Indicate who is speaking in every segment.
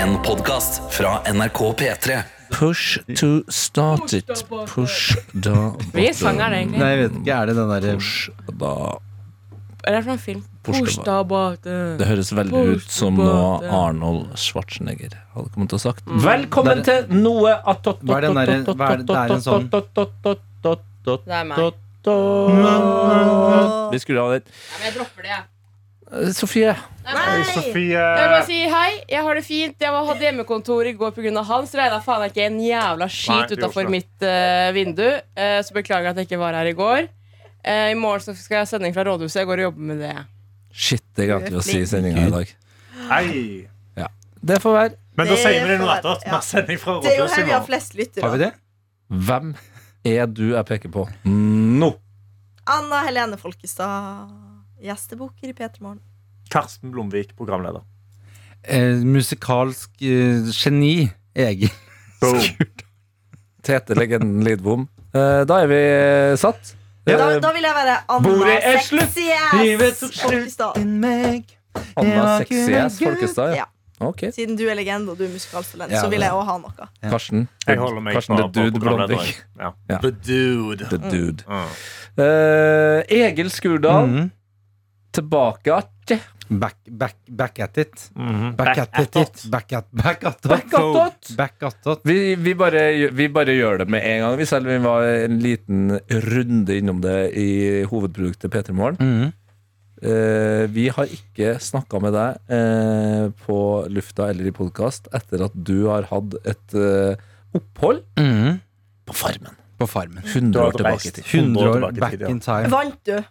Speaker 1: En podcast fra NRK P3
Speaker 2: Push to start it. Push da
Speaker 3: Hvilken sang er det egentlig?
Speaker 4: Nei, jeg vet ikke. Er det den derre
Speaker 2: Push da
Speaker 3: Er det fra en film?
Speaker 2: Push
Speaker 3: Push
Speaker 2: the
Speaker 3: the button.
Speaker 2: Det høres veldig ut som noe Arnold Schwarzenegger hadde kommet til å sagt. Velkommen til noe attåt
Speaker 4: Hva er den derre- hva er det- det er en sånn-
Speaker 3: Det er meg.
Speaker 2: Vi skulle ha det
Speaker 3: Nei, men jeg dropper det, jeg.
Speaker 2: Eh, Sofie.
Speaker 3: Nei, Jeg vil bare si hei. Jeg har det fint. Jeg var- hadde hjemmekontor i går pga. han, så regna faen ikke en jævla
Speaker 5: Nei,
Speaker 3: skit
Speaker 5: det gjorde ikke
Speaker 3: utafor
Speaker 5: det.
Speaker 3: mitt eh, vindu. Eh, så beklager jeg at jeg ikke var her i går. Eh, I morgen så skal jeg ha sending fra rådhuset. Jeg går og jobber med det.
Speaker 2: Shit, det glemte vi å si i sendinga i dag.
Speaker 5: Hei.
Speaker 2: Det får være.
Speaker 5: Men da
Speaker 6: Det
Speaker 5: sier vi det nå
Speaker 6: får være-
Speaker 5: etter at vi
Speaker 6: ja.
Speaker 5: har sending fra
Speaker 6: Det er jo her
Speaker 5: rådhuset
Speaker 6: vi har
Speaker 5: nå.
Speaker 6: flest
Speaker 4: Har vi
Speaker 6: lyttere.
Speaker 4: det?
Speaker 2: Hvem er du jeg peker på nå?
Speaker 6: Anna Helene Folkestad, gjestebukker i P3 Morgen.
Speaker 5: Karsten Blomvik, programleder.
Speaker 4: Eh, musikalsk eh, geni. Egil.
Speaker 5: Boom.
Speaker 2: Tete Legenden Lidbom. Eh, Da er vi eh, satt.
Speaker 6: Da,
Speaker 2: Eh,
Speaker 6: da vil jeg være Anna
Speaker 2: Bordet er slutt!
Speaker 6: Sexy
Speaker 4: Livet
Speaker 6: Ass
Speaker 4: tok slutt.
Speaker 6: Folkestad.
Speaker 4: Din meg.
Speaker 2: Anna
Speaker 4: Det var
Speaker 2: Sexy
Speaker 4: kun
Speaker 2: Ass
Speaker 4: en
Speaker 2: Folkestad.
Speaker 6: Ja.
Speaker 2: Ja. Ok,
Speaker 6: Siden du er legende og du er musikalstudent,
Speaker 2: Ja,
Speaker 6: så
Speaker 2: det-
Speaker 6: vil jeg òg ha noe.
Speaker 2: Karsten.
Speaker 5: Jeg holder meg
Speaker 2: Karsten the
Speaker 5: bare på
Speaker 2: Dude
Speaker 5: programleder.
Speaker 2: Blomvik.
Speaker 5: Ja.
Speaker 2: Ja.
Speaker 5: The Dude.
Speaker 2: The Dude. Mm.
Speaker 5: Mm.
Speaker 2: Eh, Egil Skurdal, tilbake att.
Speaker 4: Mhm. Back, back, back at it.
Speaker 5: Mhm.
Speaker 4: Back at it. it. Back at back at it.
Speaker 2: Back attåt.
Speaker 4: Back at it.
Speaker 2: Vi, vi, bare, vi bare gjør det med en gang, vi, selv om vi var en liten runde innom det i hovedproduktet P3 Morgen.
Speaker 4: Mhm.
Speaker 2: Eh, vi har ikke snakka med deg eh, på lufta eller i podkast etter at du har hatt et eh, opphold
Speaker 4: Mhm.
Speaker 2: på Farmen.
Speaker 4: På Farmen.
Speaker 2: 100
Speaker 5: Du
Speaker 2: år
Speaker 5: har
Speaker 2: tilbake
Speaker 5: reist.
Speaker 2: i tid.
Speaker 4: 100
Speaker 5: Hundre
Speaker 4: år
Speaker 5: år tilbake i
Speaker 4: back
Speaker 5: tid, ja.
Speaker 4: in time.
Speaker 6: Vant du?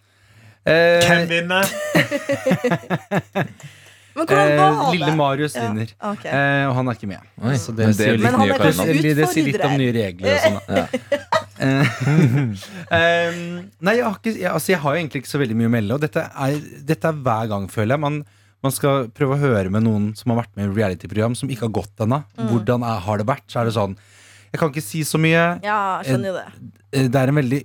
Speaker 4: Eh,
Speaker 5: Hvem vinner?
Speaker 6: Men hvordan
Speaker 4: eh,
Speaker 6: var det?
Speaker 4: lille Marius
Speaker 6: Ja,
Speaker 4: vinner.
Speaker 6: ok.
Speaker 4: Eh, og han er ikke med.
Speaker 2: Oi,
Speaker 4: Så
Speaker 2: men
Speaker 4: det, sier
Speaker 2: litt
Speaker 4: litt,
Speaker 6: Men han
Speaker 2: nye
Speaker 6: er kanskje
Speaker 2: kardinaler.
Speaker 6: ut-
Speaker 4: det, det sier litt om
Speaker 6: utfordrer.
Speaker 4: nye regler. Og sånn, da.
Speaker 2: Ja.
Speaker 4: Eh, nei, jeg har, ikke, jeg, altså, jeg har jo egentlig ikke så veldig mye å melde. Og dette er, dette er hver gang, føler jeg. Man, man skal prøve å høre med noen som har vært med i reality-program, som ikke har gått ennå.
Speaker 6: Mm.
Speaker 4: Hvordan er, har det vært? Så er det sånn Jeg kan ikke si så mye.
Speaker 6: Ja, jeg skjønner jo det.
Speaker 4: Eh, Det er en veldig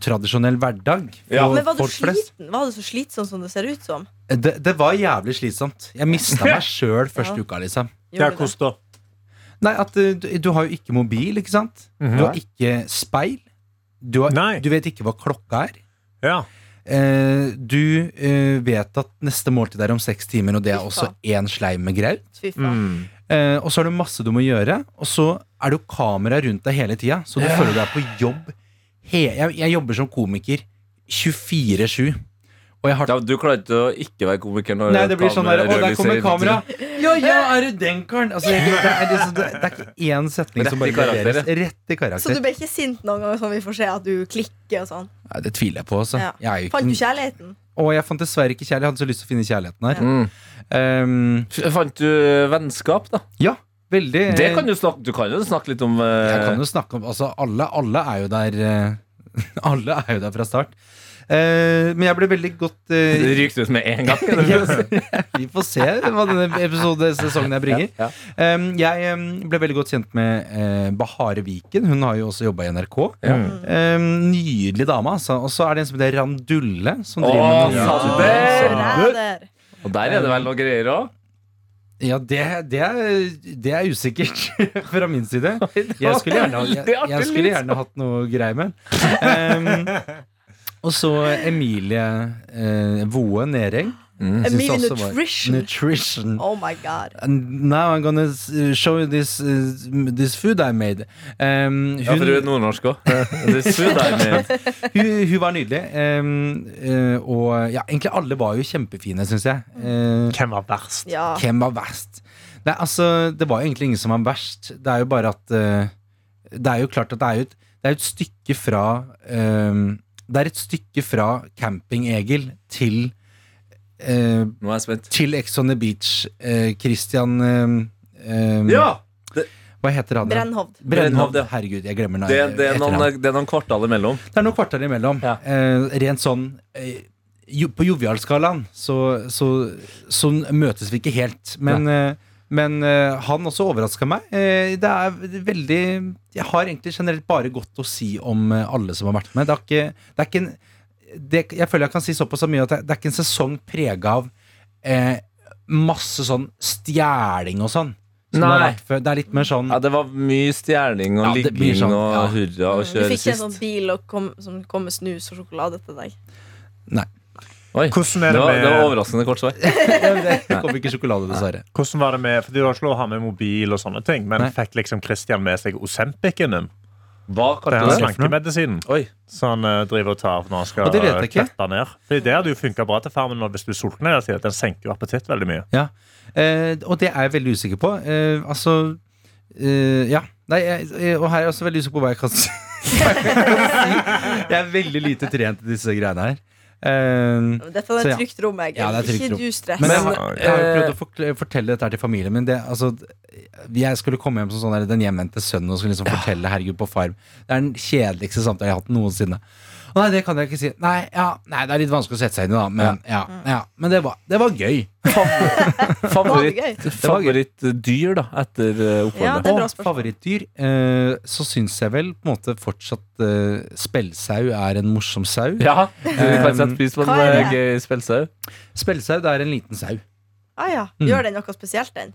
Speaker 4: utradisjonell hverdag for
Speaker 2: Ja.
Speaker 6: Men var du
Speaker 4: folk flest.
Speaker 6: sliten? Var du så slitsom som det ser ut som?
Speaker 4: Eh, Det, det var jævlig slitsomt. Jeg mista meg sjøl første
Speaker 6: Ja.
Speaker 4: uka, liksom.
Speaker 5: Ja,
Speaker 6: Gjorde du
Speaker 5: hvordan da?
Speaker 4: Nei, at eh, du, du har jo ikke mobil, ikke sant?
Speaker 2: Mhm.
Speaker 4: Du har ikke speil. Du, har,
Speaker 5: Nei.
Speaker 4: du vet ikke hva klokka er.
Speaker 5: Ja.
Speaker 4: Eh, du eh, vet at neste måltid er om seks timer, og det er
Speaker 6: Fy
Speaker 4: også
Speaker 6: faen.
Speaker 4: én sleim med graut.
Speaker 6: det? Fy faen.
Speaker 5: Mm.
Speaker 4: Eh, og så har du masse du må gjøre, og så er det jo kamera rundt deg hele tida. Så du føler du er på jobb. He jeg, jeg jobber som komiker 24-7. Og jeg har
Speaker 2: Ja, men du klarer ikke å ikke være komiker når
Speaker 4: Nei, det blir sånn der, Å, der kommer kamera!
Speaker 2: kameraet
Speaker 4: Ja, ja, er det den karen? Altså, det, det, er liksom, det, det er ikke én setning
Speaker 2: Rett
Speaker 4: som
Speaker 2: i
Speaker 4: bare
Speaker 2: karakter,
Speaker 4: leveres. Rett i
Speaker 6: Så du
Speaker 4: karakter.
Speaker 6: ble ikke sint noen gang, sånn vi får se at du klikker og sånn?
Speaker 4: Nei, det tviler jeg på, altså.
Speaker 6: Ja.
Speaker 4: Jeg er jo
Speaker 6: Fant du
Speaker 4: ikke,
Speaker 6: kjærligheten?
Speaker 4: og jeg fant dessverre ikke kjærlighet. Jeg hadde så lyst til å finne kjærligheten her.
Speaker 2: Mm.
Speaker 4: Ehm,
Speaker 2: F- Fant du eh, vennskap, da?
Speaker 4: veldig
Speaker 2: Det kan du, snakke, du kan jo snakke litt om
Speaker 4: Eh. Jeg
Speaker 2: eh,
Speaker 4: kan jo snakke om Altså, alle, alle er jo der eh, Alle er jo der fra start. Eh, men jeg ble veldig godt
Speaker 2: Det
Speaker 4: eh, altså,
Speaker 2: ryker ut med en gang. kan du si.
Speaker 4: Vi får se hva denne episode, sesongen jeg bringer.
Speaker 2: Ja.
Speaker 4: Em, jeg em, ble veldig godt kjent med eh, Bahare Viken. Hun har jo også jobba i NRK.
Speaker 2: Ja.
Speaker 4: Em, nydelig dame, altså. Og så er det en som heter Randulle. Som
Speaker 2: Å,
Speaker 4: driver med
Speaker 2: Ja,
Speaker 6: Åh,
Speaker 2: det-
Speaker 6: forræder.
Speaker 2: Og der er det vel noe greier òg?
Speaker 4: Ja, det, det, er, det er usikkert fra min side. Jeg skulle gjerne, ha- jeg, jeg skulle gjerne hatt noe greier med den. Em, Og så Emilie eh, Voe Nering.
Speaker 2: Mm.
Speaker 4: Jeg synes
Speaker 6: Emilie
Speaker 4: det også var-
Speaker 6: Nutrition.
Speaker 4: Nutrition.
Speaker 6: Oh my god.
Speaker 4: And now I'm gonna s- show you this, uh, this food I made. Em,
Speaker 2: Ja, for du er nordnorsk òg. Det er sud der med
Speaker 4: hun, hun var nydelig. em, eh, og ja, egentlig alle var jo kjempefine, syns jeg. Eh,
Speaker 5: Hvem var verst?
Speaker 6: Ja.
Speaker 4: hvem var verst? Nei, altså, det var jo egentlig ingen som var verst. Det er jo bare at eh, Det er jo klart at det er jo et, det er jo et stykke fra em, Det er et stykke fra Camping-Egil til eh,
Speaker 2: Nå er jeg spent.
Speaker 4: Til Ex on the Beach. eh, Christian eh, em,
Speaker 2: Ja!
Speaker 4: Hva heter han? igjen?
Speaker 6: Brennhovd.
Speaker 4: Brennhovd.
Speaker 2: Brennhovd, ja.
Speaker 4: Herregud, jeg glemmer
Speaker 2: Det, det, er noen,
Speaker 4: etternavn.
Speaker 2: det er noen kvartal imellom.
Speaker 4: Det er noen kvarter imellom.
Speaker 2: Ja.
Speaker 4: Eh, rent sånn eh, jo, På jovialskalaen så, så, så møtes vi ikke helt. Men, eh, men eh, han også overraska meg. Eh, det er veldig Jeg har egentlig generelt bare godt å si om eh, alle som har vært med. Det er ikke, det er ikke en det, jeg føler jeg kan si såpass mye at det, det er ikke en sesong prega av eh, masse sånn stjeling og sånn. Som det, har
Speaker 2: Nei.
Speaker 4: vært før. det er litt mer sånn
Speaker 2: Ja, det var mye stjerning og
Speaker 4: Ja, det blir
Speaker 2: ligging
Speaker 4: sånn,
Speaker 2: og
Speaker 4: ja.
Speaker 2: hurra og
Speaker 6: Du
Speaker 2: kjøre
Speaker 6: fikk ikke en
Speaker 2: sist.
Speaker 6: sånn bil og kom, som kom med snus og sjokolade til deg.
Speaker 2: Oi, det
Speaker 5: Hvordan, er det
Speaker 2: var,
Speaker 5: med,
Speaker 2: det var overraskende kort svar.
Speaker 4: Det kom ikke sjokolade, dessverre.
Speaker 5: hvordan var det med Fordi Du har ikke lov å ha med mobil, og sånne ting men
Speaker 4: Nei.
Speaker 5: fikk liksom Christian med seg Osempicen din?
Speaker 2: Hva
Speaker 5: Den
Speaker 2: kalte du det?
Speaker 5: slankemedisinen
Speaker 2: Oi,
Speaker 5: som han eh, driver og tar når han
Speaker 4: Og
Speaker 5: skal
Speaker 4: det vet jeg ikke.
Speaker 5: klette ned. Fordi Det hadde jo funka bra til farmen hvis du er sulten. hele tiden. Den senker jo appetitt veldig mye.
Speaker 4: Eh, og det er jeg veldig usikker på. Eh, altså eh, Ja. Nei, jeg, jeg, og her er jeg også veldig usikker på hva jeg kan si. jeg er veldig lite trent i disse greiene her. Eh,
Speaker 6: Dette er
Speaker 4: Så
Speaker 6: et
Speaker 4: ja.
Speaker 6: trygt rom, Egil.
Speaker 4: Ja, det er et trygt
Speaker 6: ikke
Speaker 4: rom.
Speaker 6: du stress.
Speaker 4: men jeg,
Speaker 6: Men,
Speaker 4: har- jeg har jo prøvd å forkl- fortelle dette her til familien min. Det, altså, jeg skulle komme hjem som sånn der, den hjemvendte sønnen og skulle liksom fortelle Herregud på farm. Det er den kjedeligste samtalen jeg har hatt noensinne. Og nei, det kan jeg ikke si. Nei, ja, nei, det er litt vanskelig å sette seg inn i, da. Men, ja, ja, men det, var, det var gøy.
Speaker 2: favoritt,
Speaker 6: Var det
Speaker 2: favorittdyr da, etter eh,
Speaker 6: Ja,
Speaker 2: oppholdet.
Speaker 6: det er bra
Speaker 4: Og
Speaker 6: spørsmål.
Speaker 4: favorittdyr, eh, så syns jeg vel på en måte fortsatt eh, spellsau er en morsom sau.
Speaker 2: Ja, du kan sette pris på
Speaker 6: Hva
Speaker 2: en
Speaker 6: er
Speaker 2: eh, gøy spellsau.
Speaker 4: Spellsau, det er en liten sau.
Speaker 6: ah, ja.
Speaker 4: Mm.
Speaker 6: Gjør den noe spesielt, den?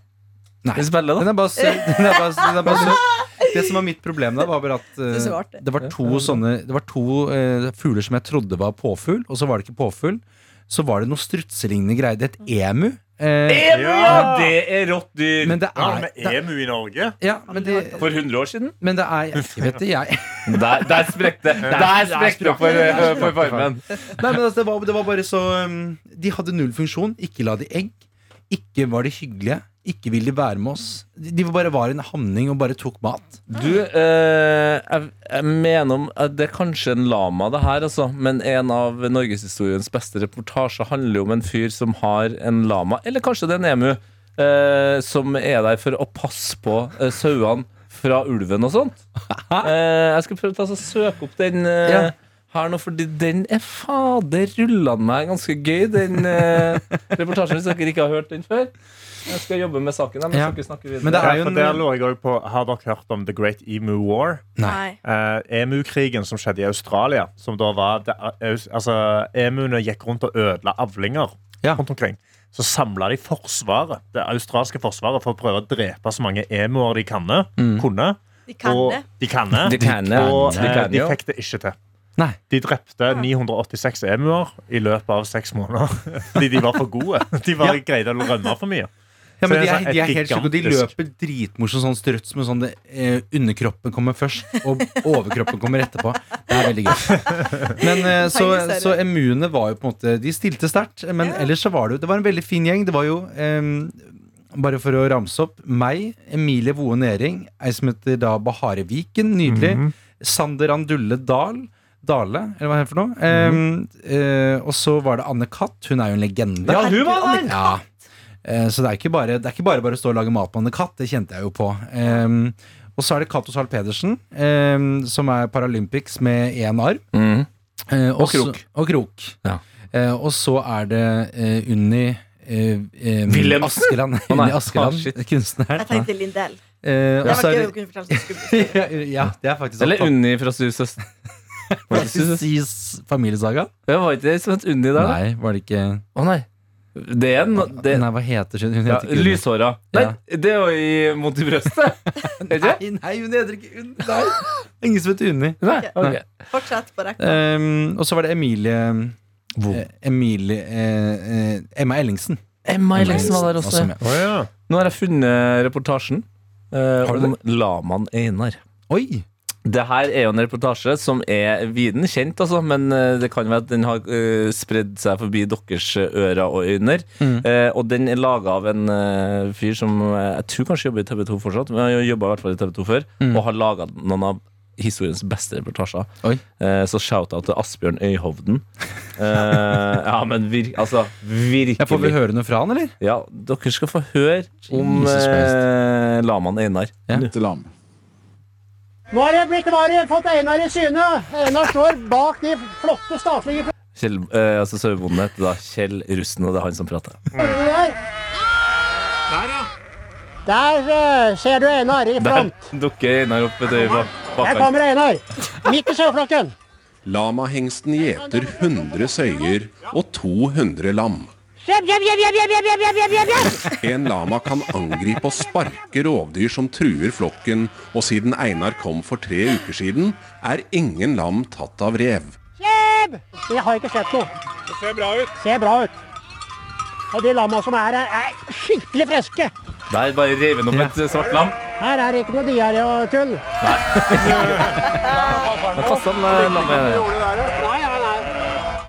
Speaker 4: Nei.
Speaker 2: Vi spiller da.
Speaker 4: Den er bare søt. Den er bare, den er bare søt. Det som var mitt problem da, var bare at eh,
Speaker 6: Det er så rart, det.
Speaker 4: det var to, sånne, det var to eh, fugler som jeg trodde var påfugl, og så var det ikke påfugl. Så var det noe strutselignende greier. Det het emu. Eh,
Speaker 5: Ja,
Speaker 2: det er rått dyr!
Speaker 4: men det
Speaker 5: Ja,
Speaker 4: er,
Speaker 5: med emu i Norge?
Speaker 4: ja, men, det,
Speaker 2: For 100 år siden?
Speaker 4: men det er Jeg vet det, jeg.
Speaker 2: Der, der sprekte Der sprekte det for, eh, for farmen.
Speaker 4: Nei, men altså, det, var, det var bare så um, De hadde null funksjon. Ikke la de egg. Ikke var de hyggelige. Ikke ville de være med oss. De de bare var en hamning og bare tok mat.
Speaker 2: Du, eh, jeg, jeg mener om eh, Det er kanskje en lama, det her, altså. Men en av norgeshistoriens beste reportasjer handler jo om en fyr som har en lama, eller kanskje det er en emu, eh, som er der for å passe på eh, sauene fra ulven og sånt. Eh, jeg skal prøve å ta, så søke opp den eh,
Speaker 4: Ja.
Speaker 2: her nå, fordi den er fader rullende meg ganske gøy, den eh, reportasjen, hvis dere ikke har hørt den før. Jeg skal jobbe med saken, jeg, men
Speaker 4: Ja.
Speaker 2: skal ikke snakke videre.
Speaker 4: Men det er
Speaker 5: Ja,
Speaker 4: jo
Speaker 5: for
Speaker 4: en
Speaker 5: der lå jeg også på Har dere hørt om The Great Emu War?
Speaker 6: Nei.
Speaker 5: Eh, Emu-krigen som skjedde i Australia. Som da var det, altså, Emuene gikk rundt og ødela avlinger
Speaker 4: Ja.
Speaker 5: rundt omkring. Så samla de forsvaret, det australske forsvaret for å prøve å drepe så mange emuer de kan, kunne.
Speaker 6: De kan
Speaker 5: og
Speaker 6: det.
Speaker 5: de kan det.
Speaker 2: De kan det.
Speaker 5: Og
Speaker 2: De
Speaker 5: eh,
Speaker 2: kan
Speaker 5: de
Speaker 2: jo.
Speaker 5: fikk det ikke til.
Speaker 4: Nei.
Speaker 5: De drepte 986 emuer i løpet av seks måneder fordi de var for gode. De bare greide å rømme for mye.
Speaker 4: Ja, men de
Speaker 5: Så det
Speaker 4: er,
Speaker 5: er sånn
Speaker 4: de er
Speaker 5: et
Speaker 4: helt syke, og de
Speaker 5: gigantisk-
Speaker 4: løper dritmorsomt sånn struts med sånn det, eh, underkroppen kommer først, og overkroppen kommer etterpå. Det er veldig gøy. Men eh, så,
Speaker 6: Tegneserie.
Speaker 4: så emuene var jo på en måte De stilte sterkt, men
Speaker 6: Ja.
Speaker 4: ellers så var det jo Det var en veldig fin gjeng. Det var jo ehm, bare for å ramse opp meg, Emilie Voe Næring, ei som heter da Bahare Viken, nydelig.
Speaker 5: Mhm.
Speaker 4: Sander Andulle Dahl. Dale, eller hva er det for noe? Ehm,
Speaker 5: Mhm.
Speaker 4: eh, og så var det Anne Katt. Hun er jo en legende.
Speaker 2: Ja, hun var der!
Speaker 4: Ja. Eh, Så det er ikke bare det er ikke bare, bare å stå og lage mat med en katt. Det kjente jeg jo på. Ehm, og så er det Cato Zahl Pedersen, ehm, som er Paralympics med én arm.
Speaker 2: Mm.
Speaker 4: Eh,
Speaker 2: Og
Speaker 4: så-
Speaker 2: krok.
Speaker 4: Og, krok.
Speaker 2: Ja.
Speaker 4: Eh, og så er det eh, Unni eh, eh,
Speaker 2: Wilhelmsen?
Speaker 4: Askeland,
Speaker 2: Å, nei.
Speaker 4: Unni Askeland
Speaker 2: Ah, shit.
Speaker 6: Jeg
Speaker 4: kunstneren.
Speaker 6: tenkte Lindell.
Speaker 4: Eh,
Speaker 6: Det
Speaker 4: og så
Speaker 6: var
Speaker 4: er
Speaker 6: gøy
Speaker 4: det
Speaker 6: å kunne fortelle sånn skummelt.
Speaker 4: ja, ja, det er faktisk
Speaker 2: Eller Unni fra Suses. Var det Suses?
Speaker 4: Sis familiesaga?
Speaker 2: Det var ikke det som het Unni der, da?
Speaker 4: Nei, var det ikke
Speaker 2: Å nei. Det er en det,
Speaker 4: Nei, hva heter hun? Hun
Speaker 2: ja,
Speaker 4: heter ikke Unni.
Speaker 2: Lyshåra. Nei, det er jo i Mot i brøstet. Er det ikke?
Speaker 4: Nei, nei, hun heter ikke Unni. Nei. Ingen som heter Unni.
Speaker 2: Nei, ok.
Speaker 6: Fortsett på rekken.
Speaker 4: Ehm, og så var det Emilie eh, Emilie eh, eh, Emma Ellingsen.
Speaker 2: Eh, Emma Ellingsen var der også.
Speaker 4: Som
Speaker 2: ja.
Speaker 4: jeg-
Speaker 2: Nå har jeg funnet reportasjen eh,
Speaker 4: Har du
Speaker 2: om lamaen Einar.
Speaker 4: Oi!
Speaker 2: Det her er jo en reportasje som er viden kjent, altså, men eh, det kan være at den har eh, spredd seg forbi deres eh, ører og øyne.
Speaker 4: Mm.
Speaker 2: Eh, og den er laga av en eh, fyr som eh, jeg tror kanskje jobber i TV2 fortsatt, men han jobba i hvert fall i TV2 før,
Speaker 4: Mm.
Speaker 2: og har laga noen av historiens beste reportasjer.
Speaker 4: Oi.
Speaker 2: Eh, så shout-out til Asbjørn Øyhovden. Eh, ja, men vir altså, virkelig.
Speaker 4: Jeg får vel høre noe fra han, eller?
Speaker 2: Ja, dere skal få høre om
Speaker 4: Jesus Christ.
Speaker 2: eh, lamaen Einar.
Speaker 7: Nå har jeg blitt var jeg fått Einar i syne. Einar står bak de flotte statlige
Speaker 2: Kjell, eh, altså sauebonden heter da Kjell Rusten, og det er han som prater.
Speaker 7: flagene der. Der eh, ser du Einar i
Speaker 2: Der
Speaker 7: front.
Speaker 2: dukker Einar opp et øye bak.
Speaker 7: Der
Speaker 2: bak han.
Speaker 7: kommer Einar. Midt i saueflokken.
Speaker 8: Lamahengsten gjeter 100 søyer og 200 lam. En lama kan angripe og sparke rovdyr som truer flokken, og siden Einar kom for tre uker siden, er ingen lam tatt av rev.
Speaker 7: Kjeb! Jeg har ikke sett noe. Det ser bra ut. Og de lamma som er her, er skikkelig friske.
Speaker 2: Der bare rev han opp et svart lam.
Speaker 7: Her er det ikke noe diaré og tull.
Speaker 2: Der passet han, eh, lammet.
Speaker 7: Nei, nei, nei.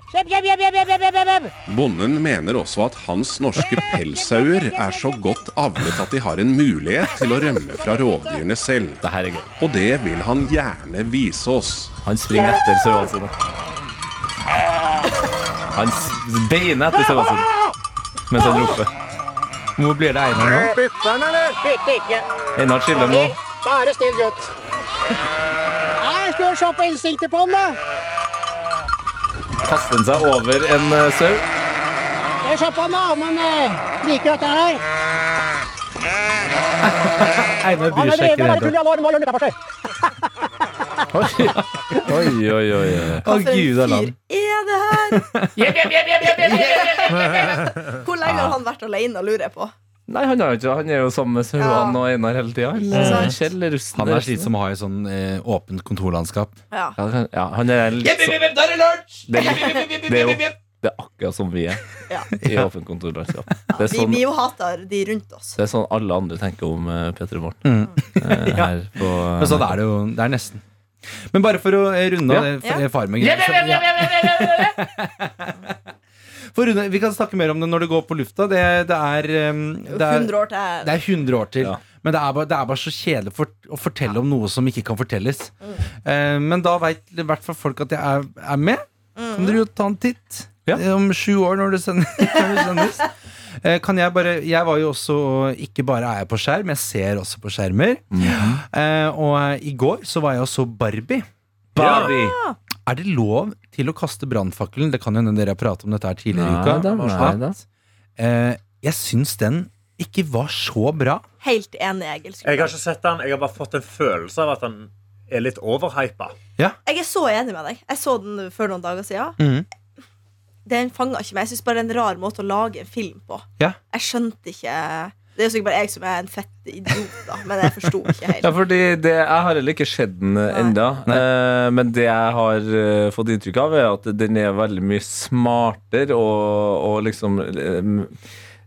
Speaker 7: Kjeb, kjeb, kjeb, kjeb, kjeb, kjeb, kjeb.
Speaker 8: Bonden mener også at hans norske pelssauer er så godt avlet at de har en mulighet til å rømme fra rovdyrene selv.
Speaker 2: Det her er gøy.
Speaker 8: Og det vil han gjerne vise oss.
Speaker 2: Han springer etter sauene sine. Han s- beiner etter sauene sine mens han roper.
Speaker 4: Hvor blir det Einar nå?
Speaker 7: Bytte ikke.
Speaker 2: Einar skiller nå.
Speaker 7: Bare still gutt. Nei, skal vi se på instinktet på han, da.
Speaker 2: Kaster han seg over en eh, sau.
Speaker 7: Skal vi se på han, da, om han eh, liker dette her.
Speaker 4: Einar
Speaker 7: Han
Speaker 4: bryr
Speaker 7: er
Speaker 4: seg ikke
Speaker 7: dreven,
Speaker 4: i det
Speaker 7: bare
Speaker 4: hele tatt.
Speaker 7: tull i alarm, hva gjør han utenfor seg?
Speaker 2: Oi, oi, oi. oi.
Speaker 4: Å,
Speaker 6: For
Speaker 4: gud, det er
Speaker 6: en
Speaker 4: lam.
Speaker 6: fyr er det her? Hvor lenge har han vært alene, lurer jeg på.
Speaker 2: Nei, han er jo ikke Han er jo sammen med sauene og Einar hele tida.
Speaker 6: Sant.
Speaker 2: Kjell er rusten.
Speaker 4: Han er slitsom å ha i sånn eh, åpent kontorlandskap.
Speaker 6: Ja.
Speaker 2: Ja, han- Ja, han er litt så- Det er litt- det er jo det er akkurat som vi er
Speaker 6: Ja.
Speaker 2: i åpent kontorlandskap. Det er
Speaker 6: Vi,
Speaker 2: sånn
Speaker 6: vi jo hater de rundt oss.
Speaker 2: Det er sånn alle andre tenker om eh, P3 Morten.
Speaker 4: Mm.
Speaker 2: Eh, her på
Speaker 4: Men sånn er det jo. Det er nesten. Men bare for å eh, runde
Speaker 2: Ja.
Speaker 4: av ja.
Speaker 6: Ja.
Speaker 4: farmen For å runde, Vi kan snakke mer om det når det går på lufta. Det, det, er, um, det, er,
Speaker 6: 100 år til.
Speaker 4: det er 100 år til.
Speaker 2: Ja.
Speaker 4: Men det er, bare, det er bare så kjedelig for, å fortelle om noe som ikke kan fortelles.
Speaker 2: Mm.
Speaker 4: Eh, men da veit i hvert fall folk at jeg er, er med. Kan dere jo ta en
Speaker 2: Mm.
Speaker 4: titt
Speaker 2: Ja.
Speaker 4: Eh, om sju år når det sender- når det sendes. Eh, Kan jeg bare Jeg var jo også Ikke bare er jeg på skjerm, jeg ser også på skjermer.
Speaker 2: Mm.
Speaker 4: Eh, og i går så var jeg og så Barbie.
Speaker 2: Barbie!
Speaker 4: Er det lov til å kaste brannfakkelen? Det kan jo hende dere har pratet om dette her tidligere i
Speaker 2: Nei
Speaker 4: uka.
Speaker 2: da, nei da.
Speaker 4: Eh, jeg syns den ikke var så bra.
Speaker 6: Helt enig, Egil. skulle
Speaker 5: Jeg har ikke sett den, jeg har bare fått en følelse av at den er litt overhypa.
Speaker 6: Jeg er så enig med deg. Jeg så den før noen dager siden.
Speaker 4: Mhm.
Speaker 6: Den fanga ikke meg. Jeg synes bare det er en rar måte å lage en film på.
Speaker 4: Ja.
Speaker 6: Jeg skjønte ikke Det er jo sikkert bare jeg som er en fett idiot, da, men jeg forsto ikke
Speaker 2: Ja,
Speaker 6: helt.
Speaker 2: fordi det, Jeg har heller ikke sett den eh, enda eh, men det jeg har eh, fått inntrykk av, er at den er veldig mye smartere og, og liksom eh,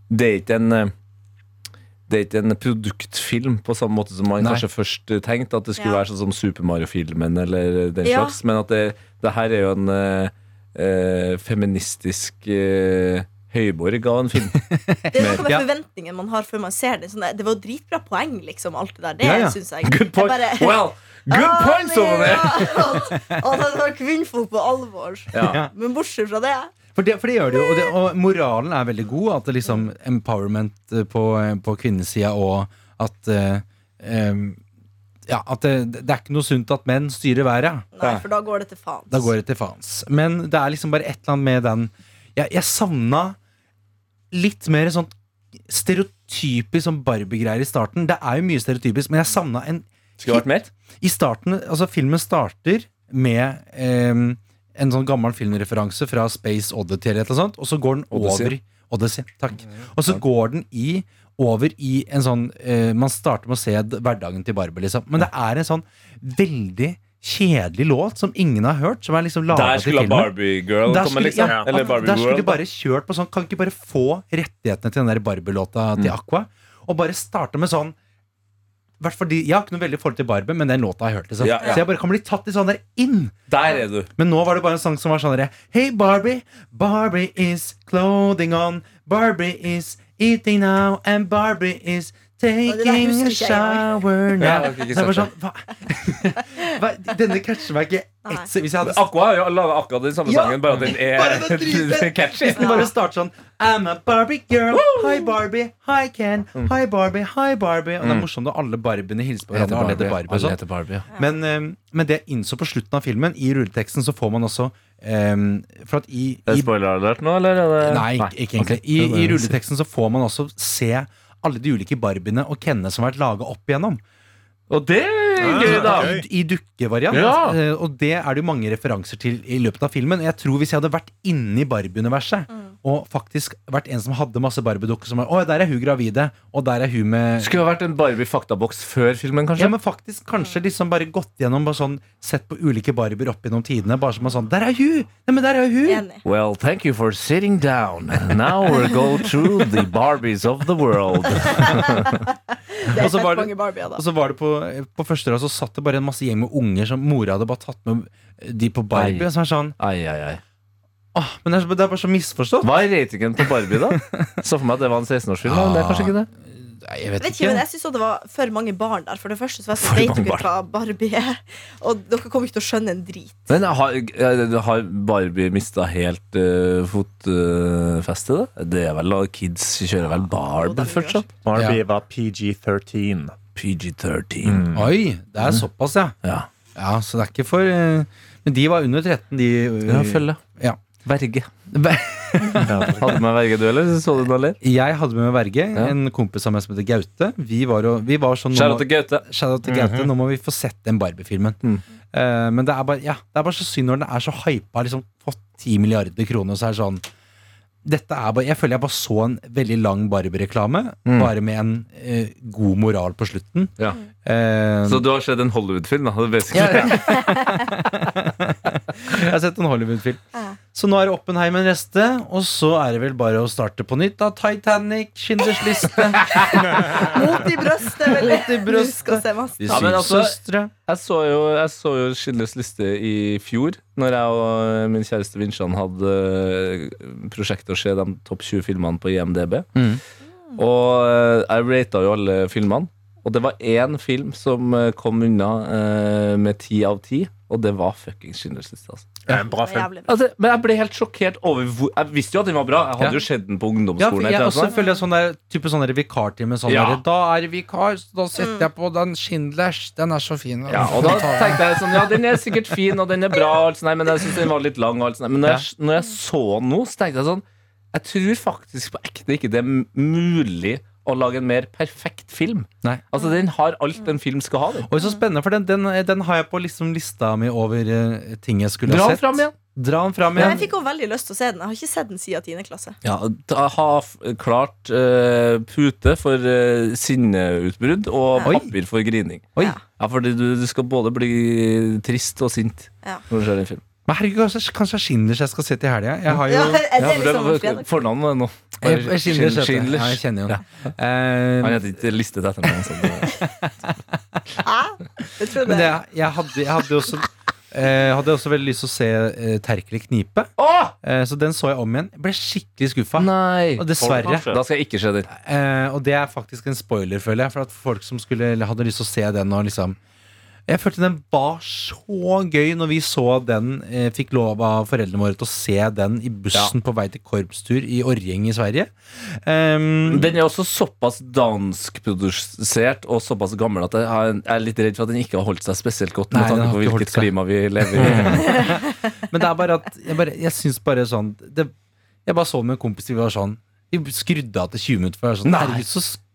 Speaker 2: Det er ikke en eh, det er ikke en produktfilm på samme måte som man
Speaker 4: Nei.
Speaker 2: kanskje først eh, tenkte. At det skulle
Speaker 6: Ja.
Speaker 2: være sånn som Super Mario-filmen eller eh, den
Speaker 6: Ja.
Speaker 2: slags. Men at det, det her er jo en eh, eh, feministisk eh, høyborg av en film.
Speaker 6: Det er noe med
Speaker 4: Ja.
Speaker 6: forventningen man har før man ser den. Sånn, der, det var jo dritbra poeng, liksom, alt det der. Det
Speaker 4: Ja, ja.
Speaker 6: synes jeg.
Speaker 2: Good point.
Speaker 6: Jeg bare-
Speaker 2: Well, good
Speaker 6: Ah,
Speaker 2: point,
Speaker 6: det er
Speaker 2: Sovner!
Speaker 6: rart At han tar kvinnfolk på alvor.
Speaker 2: Ja.
Speaker 6: Men bortsett fra det
Speaker 4: For det, for det gjør det jo, og, det, og moralen er veldig god. At det liksom empowerment eh, på, på kvinnesida og at eh, em, ja, at eh, det, det er ikke noe sunt at menn styrer været.
Speaker 6: Nei, for da går det til faens.
Speaker 4: Da går det til faens. Men det er liksom bare et eller annet med den Jeg, jeg savna litt mer sånn stereotypisk sånn Barbie-greier i starten. Det er jo mye stereotypisk, men jeg savna en
Speaker 2: Skulle vært mer.
Speaker 4: I starten, altså filmen starter med ehm, en sånn gammel filmreferanse fra Space Oddity eller et eller annet sånt, og så går den
Speaker 2: Odyssey.
Speaker 4: over Odyssey, takk. Og så går den i over i en sånn eh, Man starter med å se d- hverdagen til Barbie, liksom. Men det er en sånn veldig kjedelig låt som ingen har hørt, som er liksom laga
Speaker 2: Der
Speaker 4: til
Speaker 2: skulle
Speaker 4: filmen.
Speaker 2: Barbie-girl
Speaker 4: Der
Speaker 2: komme,
Speaker 4: skulle,
Speaker 2: liksom.
Speaker 4: ja,
Speaker 2: Eller
Speaker 4: at- der skulle
Speaker 2: Barbie-world.
Speaker 4: de bare kjørt på sånn Kan ikke bare få rettighetene til den der Barbie-låta
Speaker 2: Mm.
Speaker 4: til Aqua? Og bare starte med sånn hvert fall de- Jeg har ikke noe veldig forhold til Barbie, men den låta har jeg hørt. Liksom.
Speaker 2: Ja, ja.
Speaker 4: Så jeg bare kan bli tatt i sånn der inn.
Speaker 2: Der er du.
Speaker 4: Men nå var det bare en sang som var sånn der Hey Barbie, Barbie is clothing on. Barbie is eating now, and Barbie is
Speaker 6: det der
Speaker 4: taking a
Speaker 6: husker ikke jeg engang.
Speaker 4: shower
Speaker 2: Ja, jeg
Speaker 4: now.
Speaker 2: har ikke
Speaker 4: Så jeg bare
Speaker 2: sett
Speaker 4: sånn, hva? hva? Denne catcher meg ikke
Speaker 6: Nei.
Speaker 4: ett se- Hvis jeg hadde
Speaker 2: Aqua har jo laga akkurat den samme
Speaker 4: Ja.
Speaker 2: sangen, bare at den
Speaker 4: Bare
Speaker 2: er
Speaker 4: den er
Speaker 2: catchy.
Speaker 4: Hvis den bare starter sånn I'm a Barbie girl, hi Barbie, hi Ken, hi Barbie, hi Barbie. Og det er morsomt at alle Barbiene hilser på hverandre. Alle Mm. heter
Speaker 2: altså.
Speaker 4: Barbie og sånn. Men, eh, men det jeg innså på slutten av filmen, i rulleteksten, så får man også eh, For at i,
Speaker 2: Er det
Speaker 4: i
Speaker 2: spoiler-alert nå, eller? Er det...
Speaker 4: Nei, ikke- ikke egentlig.
Speaker 2: ok.
Speaker 4: I, I rulleteksten så får man også se alle de ulike Barbiene og Kennene som har vært laga opp igjennom.
Speaker 2: Og det er gøy, da!
Speaker 5: Ja, ok.
Speaker 4: I dukkevariant.
Speaker 2: Ja.
Speaker 4: Eh, Og det er det jo mange referanser til i løpet av filmen. Jeg tror Hvis jeg hadde vært inni Barbie-universet og faktisk vært en som hadde masse barbiedukker som var Å, der er hun gravide, og der er hun med
Speaker 2: Skulle ha vært en Barbie-faktaboks før filmen,
Speaker 4: Ja,
Speaker 2: kanskje?
Speaker 4: men faktisk kanskje liksom bare gått gjennom bare sånn, Sett på ulike barbier opp gjennom tidene. Bare som en sånn Der er hun! Nei, men der er hun!
Speaker 6: Enig.
Speaker 2: Well, thank you for sitting down. Now we'll go through the Barbies of the world.
Speaker 6: Det
Speaker 4: Og
Speaker 6: er
Speaker 4: så var
Speaker 6: fett
Speaker 4: det-
Speaker 6: mange Barbier,
Speaker 4: Og
Speaker 6: da.
Speaker 4: så var det på, på første rad så satt det bare en masse gjeng med unger som mora hadde bare tatt med de på Barbie.
Speaker 2: Nei.
Speaker 4: Som er sånn,
Speaker 2: Ai, ai, ai.
Speaker 4: Åh, men det er, så- det er bare så misforstått.
Speaker 2: Hva er ratingen på Barbie, da? Så for meg at det var en 16-årsfilm, men det er kanskje ikke det.
Speaker 4: Nei, jeg vet
Speaker 6: Jeg vet
Speaker 4: ikke.
Speaker 6: ikke, men jeg syns det var for mange barn der. For det første så var
Speaker 2: For
Speaker 6: jeg
Speaker 2: mange
Speaker 6: så vet vi
Speaker 2: barn.
Speaker 6: hva Barbie er. Og dere kommer ikke til å skjønne en drit.
Speaker 2: Men har, eh, har Barbie mista helt eh, fotfestet, da? Det er vel Kids kjører vel Barb
Speaker 6: det gjør
Speaker 2: fortsatt?
Speaker 5: Barbie var PG-13.
Speaker 2: PG-13.
Speaker 4: Oi, det er såpass, ja.
Speaker 2: Mm. Ja.
Speaker 4: ja. Så det er ikke for eh, Men de var under 13, de. eh,
Speaker 2: Ja, følge.
Speaker 4: Ja.
Speaker 2: Verge.
Speaker 4: Ver-
Speaker 2: Hadde du med verge, du, eller? Så du den, eller?
Speaker 4: Jeg hadde med meg verge,
Speaker 2: Ja.
Speaker 4: en kompis av meg som heter Gaute. Vi var, jo- vi var sånn nå
Speaker 2: Shout
Speaker 4: må-
Speaker 2: out til Gaute.
Speaker 4: Shout-out til Gaute. Nå må vi få sett den Barbie-filmen.
Speaker 2: Mm.
Speaker 4: Eh, men det er, bare, ja, det er bare så synd når den er så hypa, liksom fått 10 milliarder kroner, og så er det sånn dette er bare, Jeg føler jeg bare så en veldig lang Barbie-reklame,
Speaker 2: Mm.
Speaker 4: bare med en eh, god moral på slutten.
Speaker 2: Ja.
Speaker 4: Eh,
Speaker 2: Så du har sett en Hollywood-film, da?
Speaker 4: ja, ja. jeg har sett en Hollywood-film.
Speaker 6: Ja.
Speaker 4: Så nå er det Oppenheimen reste, og så er det vel bare å starte på nytt. da Titanic, Schindlers liste,
Speaker 6: Mot i brøstet, vel.
Speaker 4: Mot i brøstet.
Speaker 6: Du skal se masse.
Speaker 4: De
Speaker 2: Ja,
Speaker 4: syv
Speaker 2: men altså-
Speaker 4: søstre.
Speaker 2: Jeg så jo, jeg så jo Schindlers liste i fjor, når jeg og min kjæreste Vinsjan hadde eh, prosjektet å se de topp 20 filmene på IMDb.
Speaker 4: Mm.
Speaker 2: Og eh, jeg rata jo alle filmene. Og det var én film som eh, kom unna eh, med ti av ti, og det var fuckings Schindlers liste. Altså.
Speaker 5: En bra
Speaker 6: Det var
Speaker 5: film.
Speaker 6: jævlig bra.
Speaker 2: Altså, men jeg ble helt sjokkert over hvor Jeg visste jo at den var bra. Jeg hadde jo
Speaker 4: Ja.
Speaker 2: sett den på
Speaker 4: Ja, for
Speaker 2: ungdomsskolen.
Speaker 4: jeg
Speaker 2: etter
Speaker 4: også
Speaker 2: hvert.
Speaker 4: føler jeg sånn der, type sånn der vikartime. Sånn
Speaker 2: Ja.
Speaker 4: der, da er det vikar, så da setter
Speaker 6: Mm.
Speaker 4: jeg på den Schindlers. Den er så fin.
Speaker 2: Ja, og da tenkte jeg sånn, ja, den er sikkert fin, og den er bra, og alt sånt, der, men jeg synes den var litt lang. Og alt sånt, der. men når jeg, når jeg så den nå, så tenkte jeg sånn Jeg tror faktisk på ekte ikke det er m- mulig å lage en mer perfekt film.
Speaker 4: Nei.
Speaker 2: Altså, den har alt en film skal ha. Den.
Speaker 4: Oi, så spennende, for den, den, den har jeg på liksom lista mi over eh, ting jeg skulle
Speaker 2: Dra
Speaker 4: ha
Speaker 2: den
Speaker 4: sett.
Speaker 2: fram igjen.
Speaker 4: Dra den fram
Speaker 6: Men
Speaker 4: igjen.
Speaker 6: jeg fikk også veldig lyst til å se den. Jeg har ikke sett den siden 10. klasse.
Speaker 2: Ja, da ha f klart eh, pute for eh, sinneutbrudd og
Speaker 4: Oi.
Speaker 2: papir for grining.
Speaker 4: Oi.
Speaker 6: Ja.
Speaker 2: Ja, fordi du, du skal både bli trist og sint
Speaker 6: Ja.
Speaker 2: når du ser en film.
Speaker 4: Men herregud, kanskje, kanskje det er Schindlers jeg skal se til helga. Jeg har jo
Speaker 6: Ja, er det
Speaker 2: for
Speaker 6: liksom
Speaker 2: det var
Speaker 6: fredag?
Speaker 2: fornavnet nå.
Speaker 4: Jeg- jeg- Schindlers, heter det.
Speaker 2: Schindlers.
Speaker 4: Ja, jeg kjenner jo den.
Speaker 2: Han
Speaker 4: Eh,
Speaker 2: heter ikke Listet etter meg. Så det,
Speaker 6: Hæ? Jeg tror
Speaker 4: men
Speaker 6: det.
Speaker 4: det, jeg hadde, jeg hadde også eh, hadde også veldig lyst til å se eh, Terkel i knipe. Eh, så den så jeg om igjen. Jeg ble skikkelig skuffa.
Speaker 2: nei!
Speaker 4: Og dessverre.
Speaker 2: Da skal jeg ikke se den.
Speaker 4: Eh, og det er faktisk en spoiler, føler jeg. For at folk som skulle, eller hadde lyst til å se den og liksom Jeg følte den var så gøy når vi så den. Eh, fikk lov av foreldrene våre til å se den i bussen på vei til korpstur i Orgjeng i Sverige. Ehm,
Speaker 2: Den er også såpass danskprodusert og såpass gammel at jeg har- jeg er litt redd for at den ikke har holdt seg spesielt godt med
Speaker 4: Nei, den
Speaker 2: tanke
Speaker 4: har
Speaker 2: på
Speaker 4: ikke holdt
Speaker 2: hvilket
Speaker 4: seg.
Speaker 2: klima vi lever i.
Speaker 4: men det er bare at Jeg, bare, jeg syns bare sånn det, Jeg bare så den med en kompis, vi var sånn Vi skrudde av til 20 minutter, for jeg var sånn
Speaker 2: Nei.
Speaker 4: Herregud, så sk-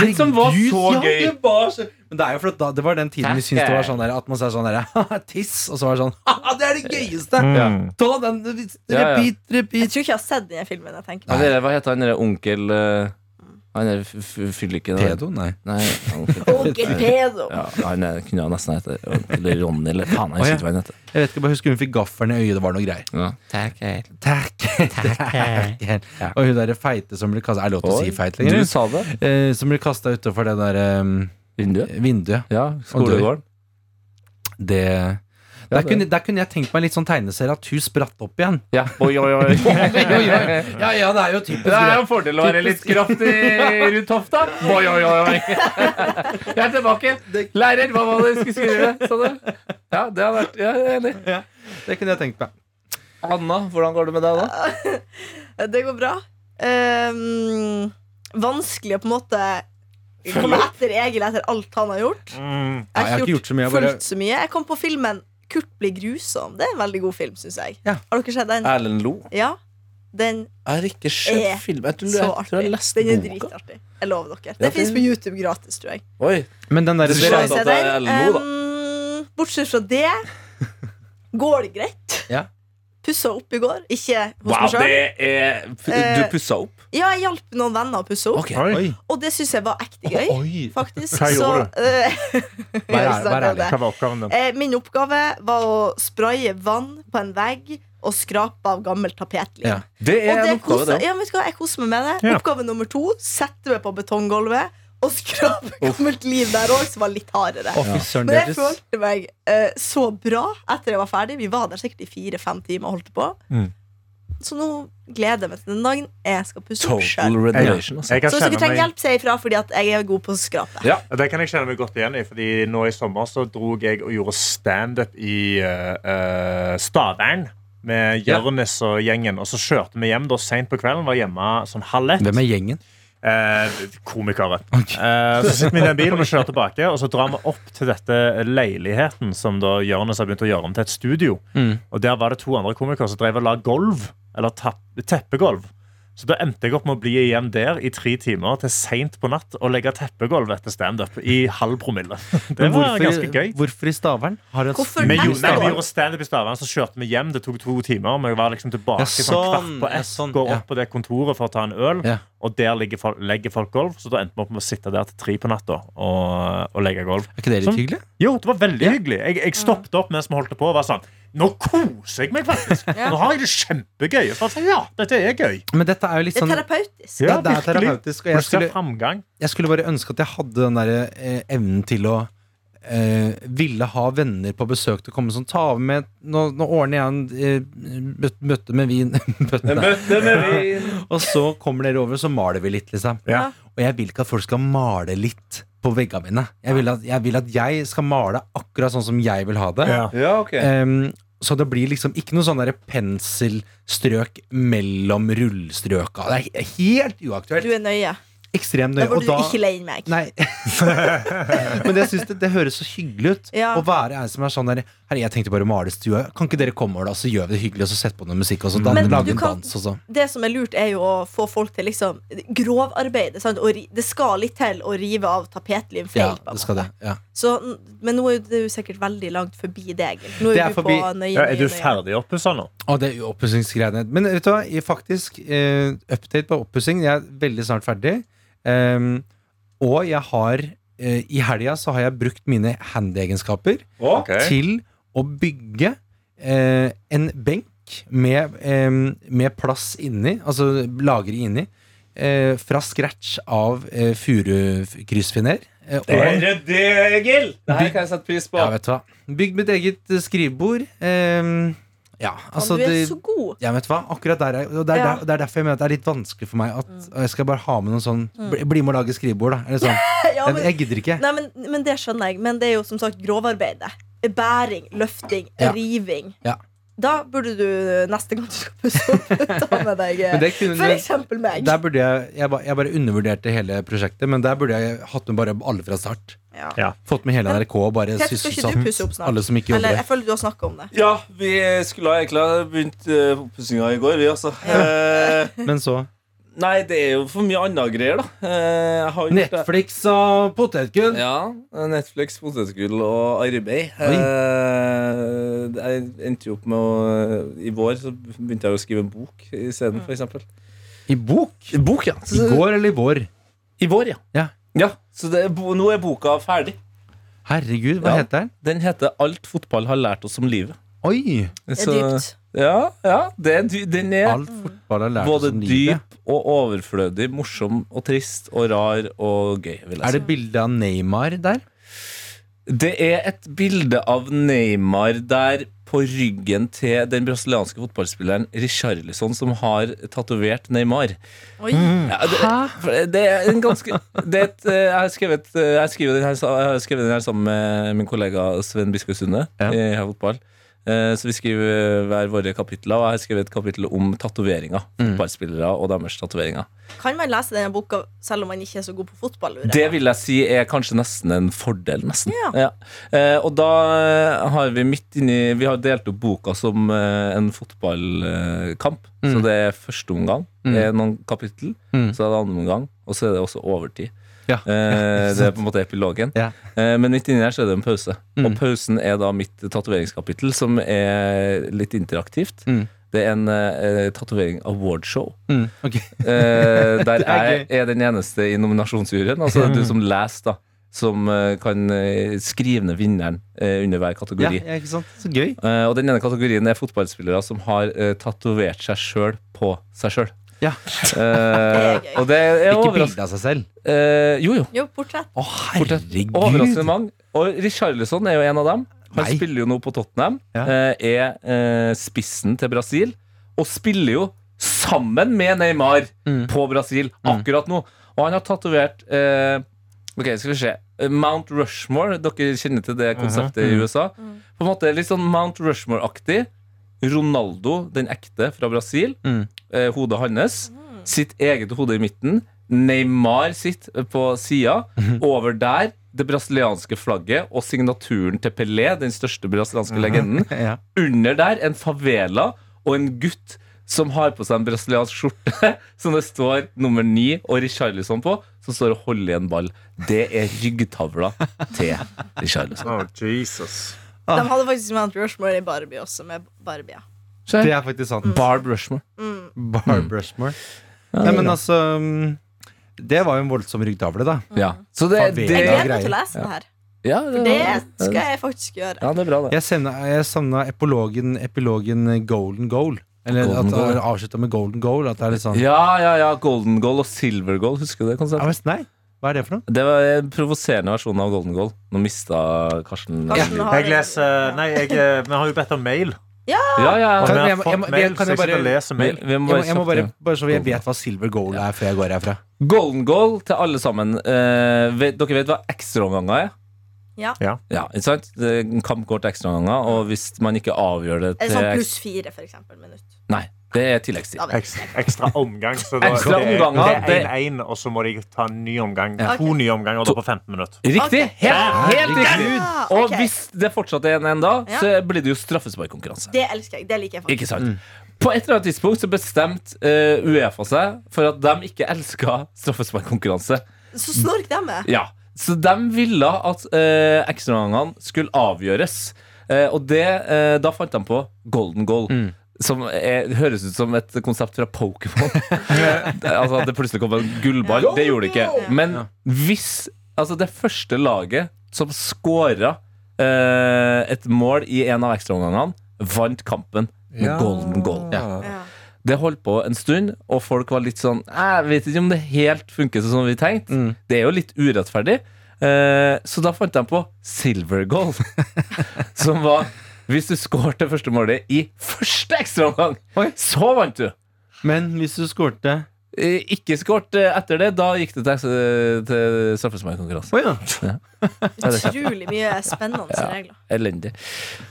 Speaker 2: Den som var så
Speaker 4: ja,
Speaker 2: gøy.
Speaker 4: Det var så, men det er jo for at da, det var den tiden vi syntes det var sånn der, at man sa sånn der Tiss! Og så var det sånn Haha, det er det gøyeste!
Speaker 5: Mm.
Speaker 4: Ta den,
Speaker 2: Ja, ja.
Speaker 4: repeat,
Speaker 6: Jeg
Speaker 4: repeat
Speaker 6: tror ikke jeg har sett den filmen. jeg tenker
Speaker 2: Ja,
Speaker 6: på.
Speaker 2: det er- hva heter han derre onkel eh, Han er f- f- fylliken der.
Speaker 4: Pedo, nei
Speaker 2: Nei, onkel
Speaker 6: Onkel Pedo.
Speaker 2: Ja, han er, kunne jeg nesten hete onkel Ronny eller faen, jeg
Speaker 4: Å, ja.
Speaker 2: husker ikke hva han heter.
Speaker 4: Jeg vet ikke, bare husker hun fikk gafferen i øyet, det var noe greier
Speaker 2: Ja. Takk,
Speaker 4: Takk, takk Og hun der feite som ble kastet, er det lov til å si feit lenger?
Speaker 2: Du sa det.
Speaker 4: Eh, som ble kastet utenfor det der eh,
Speaker 2: Vinduet.
Speaker 4: vinduet
Speaker 2: Ja, skolegården.
Speaker 4: Det
Speaker 2: Ja,
Speaker 4: der
Speaker 2: det-
Speaker 4: kunne, der kunne jeg tenkt meg litt sånn tegneserie At hun spratt opp igjen
Speaker 2: Ja, oi, oi, oi.
Speaker 4: Ja, ja, det er jo typisk
Speaker 2: Det er jo en fordel å være litt
Speaker 4: Typisk.
Speaker 2: kraftig rundt hofta. Oi, oi, oi, oi. Jeg er tilbake. Lærer, hva var det du skulle skrive? Sa du? Ja, det har vært ja, jeg er enig.
Speaker 4: Det kunne jeg tenkt meg
Speaker 2: Anna, hvordan går det med deg da?
Speaker 6: Det går bra. Ehm, vanskelig å på en måte komme etter Egil etter alt han har gjort.
Speaker 5: Mm.
Speaker 4: Nei, jeg har ikke gjort så mye, jeg bare-
Speaker 6: fullt så mye. Jeg kom på filmen 'Kurt blir grusom'. Det er en veldig god film, syns jeg.
Speaker 4: Ja.
Speaker 6: Har dere sett den?
Speaker 2: Erlend Lo.
Speaker 6: Ja. Den
Speaker 2: Jeg har ikke
Speaker 6: Er
Speaker 2: film. Jeg
Speaker 6: Eh, så artig. Den er dritartig. Jeg lover dere.
Speaker 2: Ja,
Speaker 6: Det fins
Speaker 2: den-
Speaker 6: på YouTube gratis, tror jeg.
Speaker 2: Oi.
Speaker 4: Men den der
Speaker 2: Du
Speaker 6: Gå
Speaker 2: Greit
Speaker 6: og se
Speaker 2: at det er
Speaker 6: den.
Speaker 2: Ellen Moe, da.
Speaker 6: Ehm, bortsett fra det går det greit.
Speaker 4: Ja.
Speaker 6: pussa opp i går. Ikke hos
Speaker 2: Wow,
Speaker 6: meg sjøl.
Speaker 2: det er Du
Speaker 6: Eh,
Speaker 2: pussa opp?
Speaker 6: Ja, jeg hjalp noen venner å pusse opp,
Speaker 2: Ok.
Speaker 5: Oi.
Speaker 6: og det syns jeg var ekte gøy.
Speaker 2: Oi.
Speaker 6: Faktisk.
Speaker 5: Hva gjorde
Speaker 6: Så, eh,
Speaker 4: Vær ærlig,
Speaker 6: så
Speaker 4: vær
Speaker 6: det-
Speaker 4: ærlig.
Speaker 5: Hva var oppgaven din?
Speaker 6: Eh, Min oppgave var å spraye vann på en vegg og skrape av gammel tapetlim.
Speaker 4: Ja.
Speaker 2: Det
Speaker 6: Og
Speaker 2: er en
Speaker 6: det
Speaker 2: oppgave,
Speaker 6: koser,
Speaker 2: det.
Speaker 6: ja, vet du hva, jeg koser meg med det.
Speaker 5: Ja.
Speaker 6: Oppgave nummer to sette meg på betonggulvet og skrape gammelt liv der òg, som var litt hardere.
Speaker 4: Å, fy søren,
Speaker 6: Men jeg
Speaker 4: det høres
Speaker 6: følte meg eh, så bra etter jeg var ferdig. Vi var der sikkert i fire-fem timer og holdt på.
Speaker 5: Mm.
Speaker 6: Så nå gleder jeg meg til den dagen jeg skal pusse
Speaker 2: Total
Speaker 6: opp sjøl.
Speaker 2: renovation, altså.
Speaker 5: Jeg kan
Speaker 6: Så hvis dere
Speaker 5: kjenne
Speaker 6: trenger
Speaker 5: meg,
Speaker 6: hjelp, sier jeg ifra, fordi at jeg er god på å skrape.
Speaker 5: Ja, det kan jeg kjenne meg godt igjen i, Fordi nå i sommer så dro jeg og gjorde standup i eh, eh, Stavern. Med
Speaker 4: Ja.
Speaker 5: Jørnis og gjengen. Og så kjørte vi hjem da seint på kvelden. Var hjemme sånn halv ett.
Speaker 4: Hvem er gjengen?
Speaker 5: Eh, komikere. Eh, så sitter vi i den bilen og kjører tilbake, og så drar vi opp til dette leiligheten som da Jørnes har begynt å gjøre om til et studio.
Speaker 4: Mm.
Speaker 5: Og der var det to andre komikere som drev og la gulv, eller tapp, teppegulv. Så da endte jeg opp med å bli igjen der i tre timer til seint på natt og legge teppegulv etter standup i halv promille. Det
Speaker 4: Men
Speaker 5: var
Speaker 4: hvorfor,
Speaker 5: ganske gøy.
Speaker 4: Hvorfor i Stavern? Har du et
Speaker 6: Hvorfor
Speaker 5: Vi
Speaker 4: studio i
Speaker 5: gjorde, nei, vi
Speaker 4: Stavern?
Speaker 5: gjorde standup i Stavern, så kjørte vi hjem. Det tok to timer. Vi var liksom
Speaker 4: Ja,
Speaker 5: tilbake sånn kvart
Speaker 4: sånn,
Speaker 5: på
Speaker 4: ja,
Speaker 5: ett,
Speaker 4: sånn,
Speaker 5: går
Speaker 4: ja.
Speaker 5: opp på det kontoret for å ta en øl,
Speaker 4: Ja.
Speaker 5: og der ligger, fol- legger folk gulv. Så da endte vi opp med å sitte der til tre på natta og, og legge gulv.
Speaker 4: Er ikke det
Speaker 5: Sånn.
Speaker 4: litt hyggelig?
Speaker 5: Jo, det var veldig hyggelig. Jeg, jeg stoppet opp mens vi holdt på og var sånn Nå koser jeg meg faktisk! Nå har jeg det kjempegøy. Og Så, ja, dette er gøy.
Speaker 4: Men dette er jo litt
Speaker 6: Det er
Speaker 4: sånn
Speaker 6: terapeutisk.
Speaker 4: Ja, det er
Speaker 5: virkelig.
Speaker 4: terapeutisk, og jeg
Speaker 5: Når du ser
Speaker 4: skulle-
Speaker 5: framgang.
Speaker 4: Jeg skulle bare ønske at jeg hadde den der eh, evnen til å eh, ville ha venner på besøk til å komme sånn ta over med Nå, nå ordner jeg en eh, bøt, bøtte med vin. bøtte. Og så kommer dere over, så maler vi litt, liksom.
Speaker 5: Ja.
Speaker 4: Og jeg vil ikke at folk skal male litt på veggene mine. Jeg vil, at, jeg vil at jeg skal male akkurat sånn som jeg vil ha det.
Speaker 5: Ja.
Speaker 2: Ja, ok.
Speaker 4: Ehm, så det blir liksom ikke noe sånn der penselstrøk mellom rullstrøka. Det er he- helt
Speaker 6: Du
Speaker 4: uaktuelt.
Speaker 6: er nøye.
Speaker 4: Ekstremt
Speaker 6: Da
Speaker 4: nøye.
Speaker 6: var
Speaker 4: Og
Speaker 6: du
Speaker 4: da
Speaker 6: ikke lei meg.
Speaker 4: Nei. Men jeg synes det, det høres så hyggelig ut
Speaker 6: Ja.
Speaker 4: å være en som er sånn der Herre, jeg tenkte bare å male stua. Kan ikke dere komme over, da? Så gjør vi det hyggelig, og så setter på noe musikk, og så dan
Speaker 6: Mm. Men du
Speaker 4: lager en
Speaker 6: kan-
Speaker 4: dans, og så
Speaker 6: det som er lurt, er jo å få folk til liksom grovarbeid. Sant? Og ri- det skal litt til å rive av tapetlim
Speaker 4: Ja,
Speaker 6: feil. på en
Speaker 4: det skal det.
Speaker 6: måte.
Speaker 4: Ja.
Speaker 6: Så, n- men nå er jo det jo sikkert veldig langt forbi deg. egentlig. Nå
Speaker 4: Det
Speaker 6: er,
Speaker 4: er
Speaker 6: du
Speaker 4: forbi.
Speaker 6: på nøye,
Speaker 5: Ja, er
Speaker 6: nøye,
Speaker 5: du
Speaker 6: nøye.
Speaker 5: ferdig oppussa nå?
Speaker 4: Å, det er jo oppussingsgreiene. Men vet du hva, jeg faktisk eh, Update på oppussing. Jeg er veldig snart ferdig. Ehm, og jeg har eh, I helga så har jeg brukt mine handy-egenskaper til å bygge eh, en benk med, eh, med plass inni, altså lagre inni, eh, fra scratch av eh, furukryssfiner. Eh, og-
Speaker 2: er det, Egil! Det her kan jeg sette pris på.
Speaker 4: ja, vet du hva. Bygd mitt eget eh, skrivebord. Eh, ja,
Speaker 6: Faen,
Speaker 4: altså
Speaker 6: du er
Speaker 4: det-
Speaker 6: så god.
Speaker 4: ja, vet du hva? Akkurat der er, og det, er
Speaker 6: Ja. Mm.
Speaker 4: der, det er derfor jeg mener at det er litt vanskelig for meg. At Jeg skal bare ha med noen sånn Bli, bli med og lage skrivebord, da. Eller sånn.
Speaker 6: Ja,
Speaker 4: Jeg,
Speaker 6: men,
Speaker 4: jeg gidder ikke.
Speaker 6: nei, men, men det skjønner jeg. Men det er jo som sagt grovarbeidet. Bæring, løfting,
Speaker 4: Ja.
Speaker 6: riving.
Speaker 4: Ja.
Speaker 6: Da burde du neste gang du skal pusse opp, ta med deg eh,
Speaker 4: Men det kunne,
Speaker 6: for eksempel meg.
Speaker 4: der burde jeg, jeg, ba- jeg bare undervurderte hele prosjektet, men der burde jeg hatt med bare alle fra start.
Speaker 6: Ja.
Speaker 5: Ja.
Speaker 4: Fått med hele NRK og bare
Speaker 6: Petter, skal ikke du pusse opp
Speaker 4: sysselsatt
Speaker 6: snart?
Speaker 4: alle som ikke
Speaker 6: Eller
Speaker 4: jobber
Speaker 6: jeg
Speaker 4: der.
Speaker 6: føler du har snakka om det.
Speaker 9: Ja, vi skulle ha egentlig ha begynt eh, oppussinga i går, vi, altså. Eh,
Speaker 4: Men så
Speaker 9: nei, det er jo for mye annet greier, da. Eh, jeg har gjort det.
Speaker 4: Netflix og potetgull!
Speaker 9: Ja. Netflix, potetgull og arbeid. Eh, jeg endte jo opp med å I vår så begynte jeg å skrive en bok isteden, f.eks.
Speaker 4: I bok?
Speaker 9: Bok, ja.
Speaker 4: I går eller i vår?
Speaker 9: I vår, ja.
Speaker 4: Ja.
Speaker 9: Ja, Så det er, bo- nå er boka ferdig.
Speaker 4: Herregud, hva
Speaker 9: Ja.
Speaker 4: heter den?
Speaker 2: Den heter 'Alt fotball har lært oss om livet'.
Speaker 4: Oi!
Speaker 6: Det
Speaker 2: Så-
Speaker 6: er dypt.
Speaker 2: Ja, ja det, er dy- den er
Speaker 4: Alt fotball har lært oss
Speaker 2: både
Speaker 4: om livet.
Speaker 2: dyp og overflødig, morsom og trist og rar og gøy. Vil jeg
Speaker 4: Er det bilde av Neymar der?
Speaker 2: Det er et bilde av Neymar der på ryggen til den brasilianske fotballspilleren Richarlison, som har tatovert Neymar.
Speaker 6: Oi.
Speaker 4: Mm.
Speaker 2: Ja, det, for det er en ganske det er et, eh, Jeg har skrevet, eh, jeg skriver den her, sa- jeg har skrevet den her sammen med min kollega Sven Biskår Sunde
Speaker 4: Ja.
Speaker 2: i Heia Fotball. Eh, Så vi skriver hver våre kapitler, og jeg har skrevet et kapittel om tatoveringer. Fotballspillere og deres tatoveringer.
Speaker 6: Kan man lese denne boka selv om man ikke er så god på fotball? lurer jeg?
Speaker 2: Det vil jeg si er kanskje nesten en fordel, nesten.
Speaker 6: Ja.
Speaker 2: Eh, og da eh, har vi midt inni Vi har delt opp boka som eh, en fotballkamp. Så det er første omgang. Det er noen kapittel.
Speaker 4: Mm.
Speaker 2: Så er det andre omgang, og så er det også overtid.
Speaker 4: Ja.
Speaker 2: Eh, det er på en måte epilogen.
Speaker 4: Ja.
Speaker 2: Eh, men midt inni her så er det en pause.
Speaker 4: Mm.
Speaker 2: Og pausen er da mitt tatoveringskapittel, som er litt interaktivt.
Speaker 4: Mm.
Speaker 2: Det er en eh, tatovering awardshow.
Speaker 4: Mm. ok.
Speaker 2: Eh, der jeg
Speaker 4: gøy.
Speaker 2: er den eneste i nominasjonsjuryen. Altså du som leser, da. Som eh, kan eh, skrive ned vinneren eh, under hver
Speaker 4: Ja,
Speaker 2: kategori.
Speaker 4: ja, ikke sant? Så gøy.
Speaker 2: Eh, og den ene kategorien er fotballspillere som har eh, tatovert seg sjøl på seg sjøl. Eh,
Speaker 4: Ja.
Speaker 6: Det er gøy.
Speaker 2: og det er
Speaker 4: Ikke
Speaker 2: overras
Speaker 4: bilde av seg selv.
Speaker 2: eh, jo, jo.
Speaker 6: Jo, portrett.
Speaker 4: Å,
Speaker 2: Portrett. Overraskende mange. Og Richarlison er jo en av dem. Han
Speaker 4: Nei.
Speaker 2: spiller jo nå på Tottenham.
Speaker 4: Ja.
Speaker 2: eh, Er eh, spissen til Brasil. Og spiller jo sammen med Neymar
Speaker 4: Mm.
Speaker 2: på Brasil akkurat nå. Og han har tatovert eh, Ok, skal vi se. Eh, Mount Rushmore. Dere kjenner til det konseptet
Speaker 4: Mm.
Speaker 2: i USA. På en måte Litt sånn Mount Rushmore-aktig. Ronaldo, den ekte fra Brasil.
Speaker 4: Mm.
Speaker 2: Eh, hodet hans. Sitt eget hode i midten. Neymar sitt på sida. Over der det brasilianske flagget og signaturen til Pelé, den største brasilianske legenden.
Speaker 4: Mm. Ja.
Speaker 2: Under der en favela og en gutt som har på seg en brasiliansk skjorte som det står nummer ni og Richarlison på, som står og holder i en ball. Det er ryggtavla til Richarlison.
Speaker 5: Oh, Jesus.
Speaker 6: De hadde faktisk Mount Rushmore i Barbie også, med Barbie. ja.
Speaker 4: Det er faktisk sant.
Speaker 2: Barb Rushmore.
Speaker 6: Mm.
Speaker 4: Barb Rushmore. Nei, men altså mm, Det var jo en voldsom ryggtavle, da.
Speaker 2: Ja. Mm. Så det,
Speaker 4: Favela.
Speaker 2: det,
Speaker 6: Jeg
Speaker 4: er
Speaker 6: gleder meg til å
Speaker 4: greier.
Speaker 6: lese den her.
Speaker 2: ja,
Speaker 6: Det skal jeg faktisk gjøre.
Speaker 2: Ja, det er bra, det.
Speaker 4: Jeg savna, jeg savna epilogen, epilogen Golden Goal. Eller
Speaker 2: Golden
Speaker 4: at
Speaker 2: Goal.
Speaker 4: det avslutta med Golden Goal. At det er litt sånn
Speaker 2: Ja, ja, ja. Golden Goal og Silver Goal. Husker du det
Speaker 4: Ja,
Speaker 2: konseptet?
Speaker 4: men Nei, hva er det for noe?
Speaker 2: Det var en provoserende versjon av Golden Goal. Nå mista Karsten
Speaker 6: Karsten har
Speaker 5: Jeg
Speaker 6: det.
Speaker 5: leser Nei, jeg, eh, vi har jo bedt om mail.
Speaker 2: Ja, ja.
Speaker 5: Og
Speaker 4: Kan-
Speaker 5: vi har
Speaker 4: jeg må- jeg må-
Speaker 5: fått mail,
Speaker 4: kan
Speaker 5: så
Speaker 4: jeg
Speaker 5: jeg
Speaker 4: bare-
Speaker 5: sitter og leser
Speaker 2: Vi,
Speaker 5: mail.
Speaker 2: vi
Speaker 4: Jeg
Speaker 2: må
Speaker 4: må,
Speaker 2: bare
Speaker 4: jeg må bare,
Speaker 2: kjapt-
Speaker 4: bare så jeg vet hva Silver Goal er før jeg går herfra.
Speaker 2: Golden Goal til alle sammen. Eh, vet, dere vet hva ekstraomganger er?
Speaker 6: Ja.
Speaker 5: Ja.
Speaker 2: ikke sant? Det er en kamp går til ekstraomganger, og hvis man ikke avgjør det
Speaker 6: Er det
Speaker 2: til
Speaker 6: sånn
Speaker 2: ek-
Speaker 6: pluss fire, for eksempel, minutt?
Speaker 2: Nei, det er tilleggstid.
Speaker 6: Da vet jeg.
Speaker 5: Ekstra, ekstra omgang. Så da,
Speaker 2: Ekstra
Speaker 5: det er-
Speaker 2: omganger,
Speaker 5: Det
Speaker 2: det-
Speaker 5: er 1-1, og så må de ta en ny omgang.
Speaker 6: Ja.
Speaker 5: To nye omganger da på 15 minutter.
Speaker 2: Riktig!
Speaker 6: Ok.
Speaker 2: Helt, helt riktig!
Speaker 6: Ah,
Speaker 2: Og
Speaker 6: ok.
Speaker 2: hvis det fortsatt er 1-1 da,
Speaker 6: Ja.
Speaker 2: så blir det jo straffesparkkonkurranse.
Speaker 6: Det elsker jeg. Det liker jeg faktisk.
Speaker 2: Ikke sant? På et eller annet tidspunkt så bestemte eh, Uefa seg for at de ikke elska straffesparkkonkurranse.
Speaker 6: Så snork dem med.
Speaker 2: Ja, så de ville at eh, ekstraomgangene skulle avgjøres. Eh, og det, eh, da fant de på golden goal. Som er, høres ut som et konsept fra Pokémon. Det- altså At det plutselig kom en gullball. Det gjorde det ikke. Men hvis altså det første laget som scora eh, et mål i en av ekstraomgangene, vant kampen med golden goal.
Speaker 6: Ja.
Speaker 2: Det holdt på en stund, og folk var litt sånn Jeg vet ikke om det helt funker sånn som vi tenkte. Det er jo litt urettferdig. Eh, så da fant de på silver goal, som var hvis du skårte første målet i første ekstraomgang,
Speaker 4: Oi.
Speaker 2: så vant du!
Speaker 4: Men hvis du skårte
Speaker 2: Eh, Ikke skåret eh, etter det. Da gikk det til, eks- til straffesparkkonkurranse.
Speaker 4: Å ja.
Speaker 2: Ja, det er
Speaker 6: Utrolig mye spennende regler.
Speaker 2: Elendig.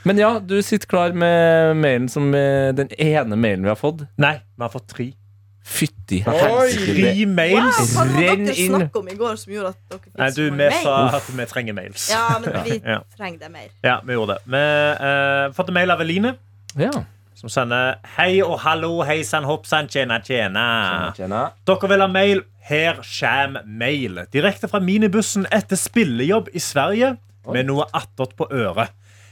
Speaker 2: Men ja, du sitter klar med mailen som eh, den ene mailen vi har fått.
Speaker 5: Nei, vi har fått tre.
Speaker 2: Fytti helsike.
Speaker 5: Tre
Speaker 6: Wow,
Speaker 5: mails!
Speaker 6: hva var
Speaker 2: Renn
Speaker 6: det dere
Speaker 2: inn.
Speaker 6: snakket om i går som gjorde at dere fikk
Speaker 5: Nei,
Speaker 6: så
Speaker 5: du,
Speaker 6: mange
Speaker 5: vi
Speaker 6: mail?
Speaker 5: sa at vi trenger mails.
Speaker 6: Ja, men vi
Speaker 5: Ja.
Speaker 6: trenger det mer.
Speaker 5: Ja, vi gjorde det. Vi eh, har fått en mail av Eline,
Speaker 2: Ja.
Speaker 5: som sender Hei og hallo, hei sann, hopp sann, tjena, tjena.
Speaker 2: Tjena.
Speaker 5: Dere vil ha mail? Her kjem mail. Direkte fra minibussen etter spillejobb i Sverige med noe attåt på øret.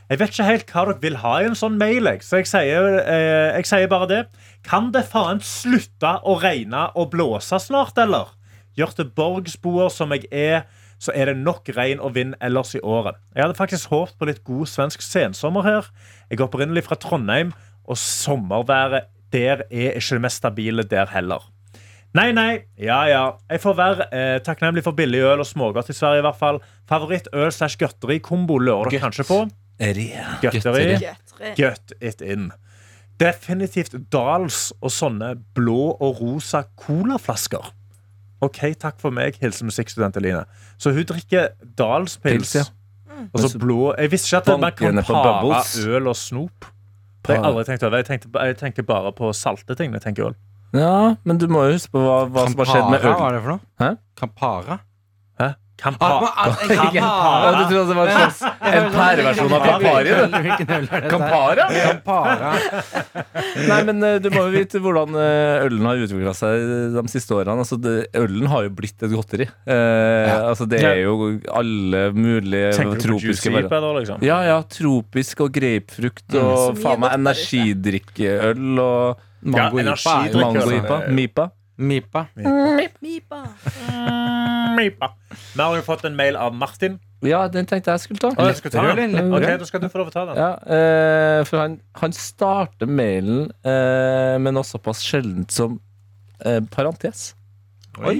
Speaker 5: Jeg vet ikke helt hva dere vil ha i en sånn mail, jeg, så jeg sier, eh, jeg sier bare det. Kan det faen slutte å regne og blåse snart, eller? Gøteborgsboer som jeg er, så er det nok regn og vind ellers i året. Jeg hadde faktisk håpet på litt god svensk sensommer her. Jeg er opprinnelig fra Trondheim, og sommerværet der er ikke det mest stabile der heller. Nei, nei, ja, ja. Jeg får være eh, takknemlig for billig øl og smågodt i Sverige. i hvert fall. Favoritt øl slash godteri-kombo lurer dere kanskje på. Godteri.
Speaker 6: Gøtre.
Speaker 5: Get it in. Definitivt Dals og sånne blå og rosa colaflasker. OK, takk for meg. Hilsen musikkstudent Eline. Så hun drikker
Speaker 2: Pils,
Speaker 5: Dals-pils.
Speaker 2: ja.
Speaker 5: Og så blå Jeg visste ikke at man kan
Speaker 2: Bankene på
Speaker 5: pare
Speaker 2: Bubbles.
Speaker 5: øl og snop. Det har jeg aldri tenkt over. Jeg tenkte, ba- jeg tenkte bare på salte ting når jeg tenker øl.
Speaker 2: Ja, men du må jo huske på hva, hva som har skjedd med øl.
Speaker 4: Campara, Hva er det for noe?
Speaker 2: Hæ?
Speaker 4: Campara?
Speaker 5: Hæ?
Speaker 2: Ah,
Speaker 5: Kampa.
Speaker 2: Å, du trodde det var en slags en pæreversjon av Campari? du? Campari? ja.
Speaker 4: Campara.
Speaker 2: Nei, men eh, du må jo vite hvordan eh, ølen har utvikla seg de siste årene. Altså, det, ølen har jo blitt et godteri. Eh, altså, det er jo alle mulige
Speaker 5: Tenker du på
Speaker 2: tropiske
Speaker 5: Juicy
Speaker 2: varer.
Speaker 5: Peter, liksom? Mm.
Speaker 2: Ja, ja. Tropisk og grapefrukt og
Speaker 6: Så mye
Speaker 2: faen meg
Speaker 6: godt der ute.
Speaker 2: energidrikkeøl og
Speaker 5: Mango
Speaker 4: Mango-ipa
Speaker 5: ipa er jo-
Speaker 2: mango-ipa. Mipa.
Speaker 4: Mipa.
Speaker 6: Mipa.
Speaker 5: Mipa. Vi har jo fått en mail av Martin.
Speaker 2: Ja, den tenkte jeg skulle ta.
Speaker 5: Å, jeg skal ta den.
Speaker 2: Rød.
Speaker 5: Ok, Da skal du få lov å ta den.
Speaker 2: Ja, eh, for han, han starter mailen, eh, men også såpass sjeldent som eh, parentes.
Speaker 5: Oi.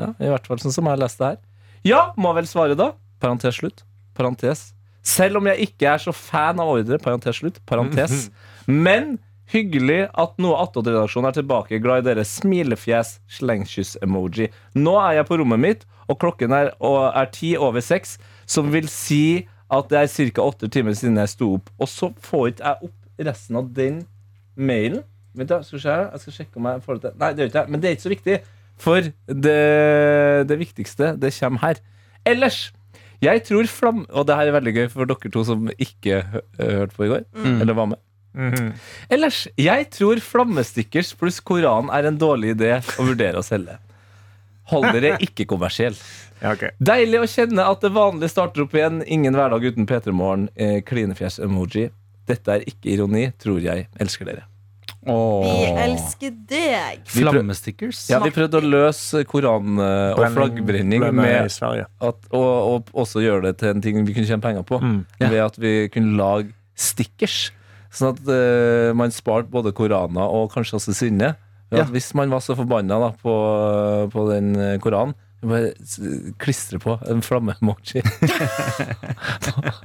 Speaker 2: Ja, I hvert fall sånn som jeg leste her. Ja, må vel svare da. Parentes slutt. Parentes. Selv om jeg ikke er så fan av ordre. Parentes slutt. Parentes. Men hyggelig at noe attåt-redaksjonen er tilbake. Glad i dere. Smilefjes, slengkyss-emoji. Nå er jeg på rommet mitt, og klokken er, og er ti over seks, som vil si at det er ca. åtte timer siden jeg sto opp. Og så får ikke jeg opp resten av den mailen. Vent da, skal vi se her. Jeg skal sjekke om jeg får det til. Nei, det gjør ikke jeg. Men det er ikke så viktig. For det, det viktigste, det kommer her. Ellers jeg tror flam... Og det her er veldig gøy for dere to som ikke hø- eh, hørte på i går. Eller var med. Ellers, jeg tror flammestikkers pluss Koran er en dårlig idé å vurdere å selge. Hold dere ikke kommersiell.
Speaker 5: Ja, ok.
Speaker 2: Deilig å kjenne at det vanlige starter opp igjen. Ingen hverdag uten P3 Morgen. Eh, Klinefjes-emoji. Dette er ikke ironi, tror jeg. Elsker dere.
Speaker 6: Vi elsker deg.
Speaker 2: Vi prøv-
Speaker 4: Flammestickers.
Speaker 2: Ja, vi prøvde å løse Koran eh, og flaggbrenning
Speaker 5: Ble med i
Speaker 2: med
Speaker 5: Sverige.
Speaker 2: at, og, og også gjøre det til en ting vi kunne tjene penger på.
Speaker 5: Mm.
Speaker 2: Ved at vi kunne lage stickers. Sånn at eh, man sparte både Korana og kanskje også sinne. Ved at
Speaker 4: Ja.
Speaker 2: Hvis man var så forbanna da, på, på den eh, Koranen bare s- klistre på en flamme-emoji.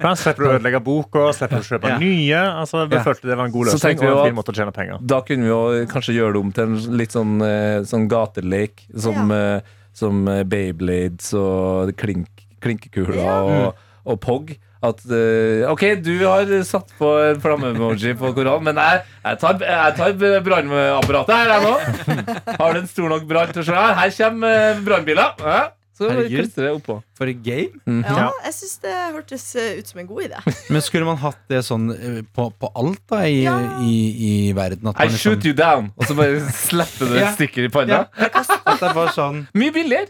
Speaker 5: Da slipper du å ødelegge boka, slipper du å kjøpe
Speaker 4: Ja.
Speaker 5: nye. Altså, vi
Speaker 4: Ja.
Speaker 5: følte det var en god
Speaker 2: Så
Speaker 5: løsning
Speaker 2: tenkte vi
Speaker 5: og
Speaker 2: jo
Speaker 5: en fin
Speaker 2: at-
Speaker 5: måte å tjene penger.
Speaker 2: Da kunne vi jo kanskje gjøre det om til en litt sånn, eh, sånn gatelek som, eh, som eh, Beyblades og klink, klinkekuler og, og POG. At eh, OK, du har satt på en flamme-emoji på Koran, men jeg, jeg tar, jeg tar brannapparatet her, jeg nå. Har du en stor nok brann til å slå her? Her kommer eh, brannbiler. Ja, Så
Speaker 4: Herregud.
Speaker 2: klistrer jeg oppå.
Speaker 4: For et game.
Speaker 6: Ja, jeg syns det hørtes eh, ut som en god idé.
Speaker 4: Men skulle man hatt det sånn eh, på, på alt da i,
Speaker 6: Ja.
Speaker 4: i, i verden? At
Speaker 2: I
Speaker 4: man liksom-
Speaker 2: shoot you down, og så bare slipper du
Speaker 4: sånn- Ja.
Speaker 2: et stikker i panna.
Speaker 4: Ja. At det er bare sånn
Speaker 2: Mye billigere.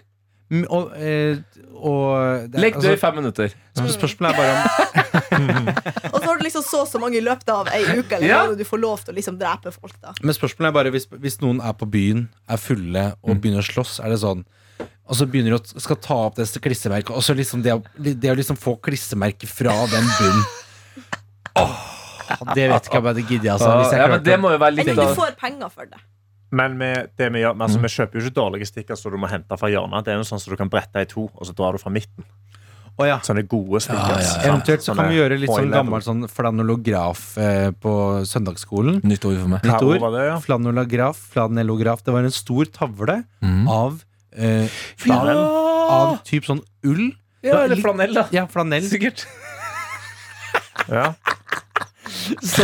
Speaker 4: mm, Og, eh, og det er-
Speaker 2: Legg det i
Speaker 4: altså,
Speaker 2: fem minutter.
Speaker 4: sp- Spørsmålet er bare om
Speaker 6: Og så har du liksom så og så mange i løpet av ei uke, eller
Speaker 2: Ja.
Speaker 6: noe, og du får lov til å liksom drepe folk, da.
Speaker 4: Men spørsmålet er bare hvis, hvis noen er på byen, er fulle og
Speaker 2: Mm.
Speaker 4: begynner å slåss, er det sånn og så begynner de å skal ta opp det klissemerket, og så liksom det, å- det å liksom få klissemerket fra den bunnen Åh, Det vet ikke om jeg hadde giddet, altså. Hvis jeg
Speaker 2: ja, men
Speaker 4: klarte
Speaker 2: det må jo være litt
Speaker 6: Eller
Speaker 2: av-
Speaker 6: du får penger for det.
Speaker 5: Men vi, det vi, gjør, men altså, vi kjøper jo ikke dårlige stikker som du må hente fra hjørnet. Det er jo sånn som du kan brette i to, og så drar du fra midten.
Speaker 4: Å, ja.
Speaker 5: Sånne gode stikker.
Speaker 4: Eventuelt så kan vi gjøre litt sånn gammel sånn flanolograf eh, på søndagsskolen.
Speaker 2: Nytt ord for meg.
Speaker 5: Hva
Speaker 4: Nytt
Speaker 5: ord
Speaker 4: ord.
Speaker 5: var det, ja?
Speaker 4: Flanolograf, flanellograf. Det var en stor tavle av eh, flanell. Av typ sånn ull.
Speaker 2: Ja, eller flanell, da.
Speaker 4: Ja, flanell.
Speaker 2: Sikkert.
Speaker 5: Ja.
Speaker 4: Så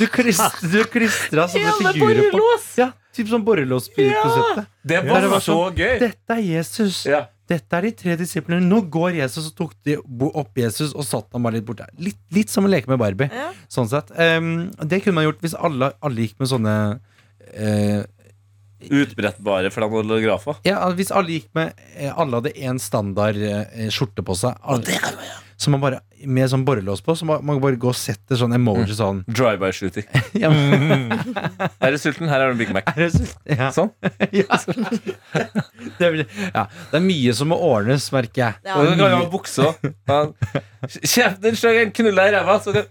Speaker 4: du klistra sånne figurer på. Ja, typ sånn borrelåskonseptet.
Speaker 2: Det
Speaker 4: Ja, det var sånn.
Speaker 2: gøy!
Speaker 4: Dette er Jesus.
Speaker 2: Ja.
Speaker 4: Dette er de tre disiplene. Nå går Jesus, og tok de bo- opp Jesus og satt ham bare litt bort der. Litt, litt som å leke med Barbie.
Speaker 6: Ja.
Speaker 4: Sånn sett. Ehm, det kunne man gjort hvis alle, alle gikk med sånne eh,
Speaker 2: Utbrettbare flanellografer.
Speaker 4: Ja, al- hvis alle gikk med eh, Alle hadde én standard eh, skjorte på seg. Alle, som man bare, med sånn borrelås på, så man, man bare går og setter sånn emoji sånn.
Speaker 2: Drive-by-shooting.
Speaker 4: Ja,
Speaker 2: Er du sulten? Her er du en Big Mac.
Speaker 4: er det så- ja.
Speaker 2: Sånn.
Speaker 4: Ja. Det, er, vel- ja. det er mye som må ordnes, merker jeg.
Speaker 6: Ja.
Speaker 2: Og du kan jo ha bukse òg. Kjeften din slår en knulle i ræva, så kan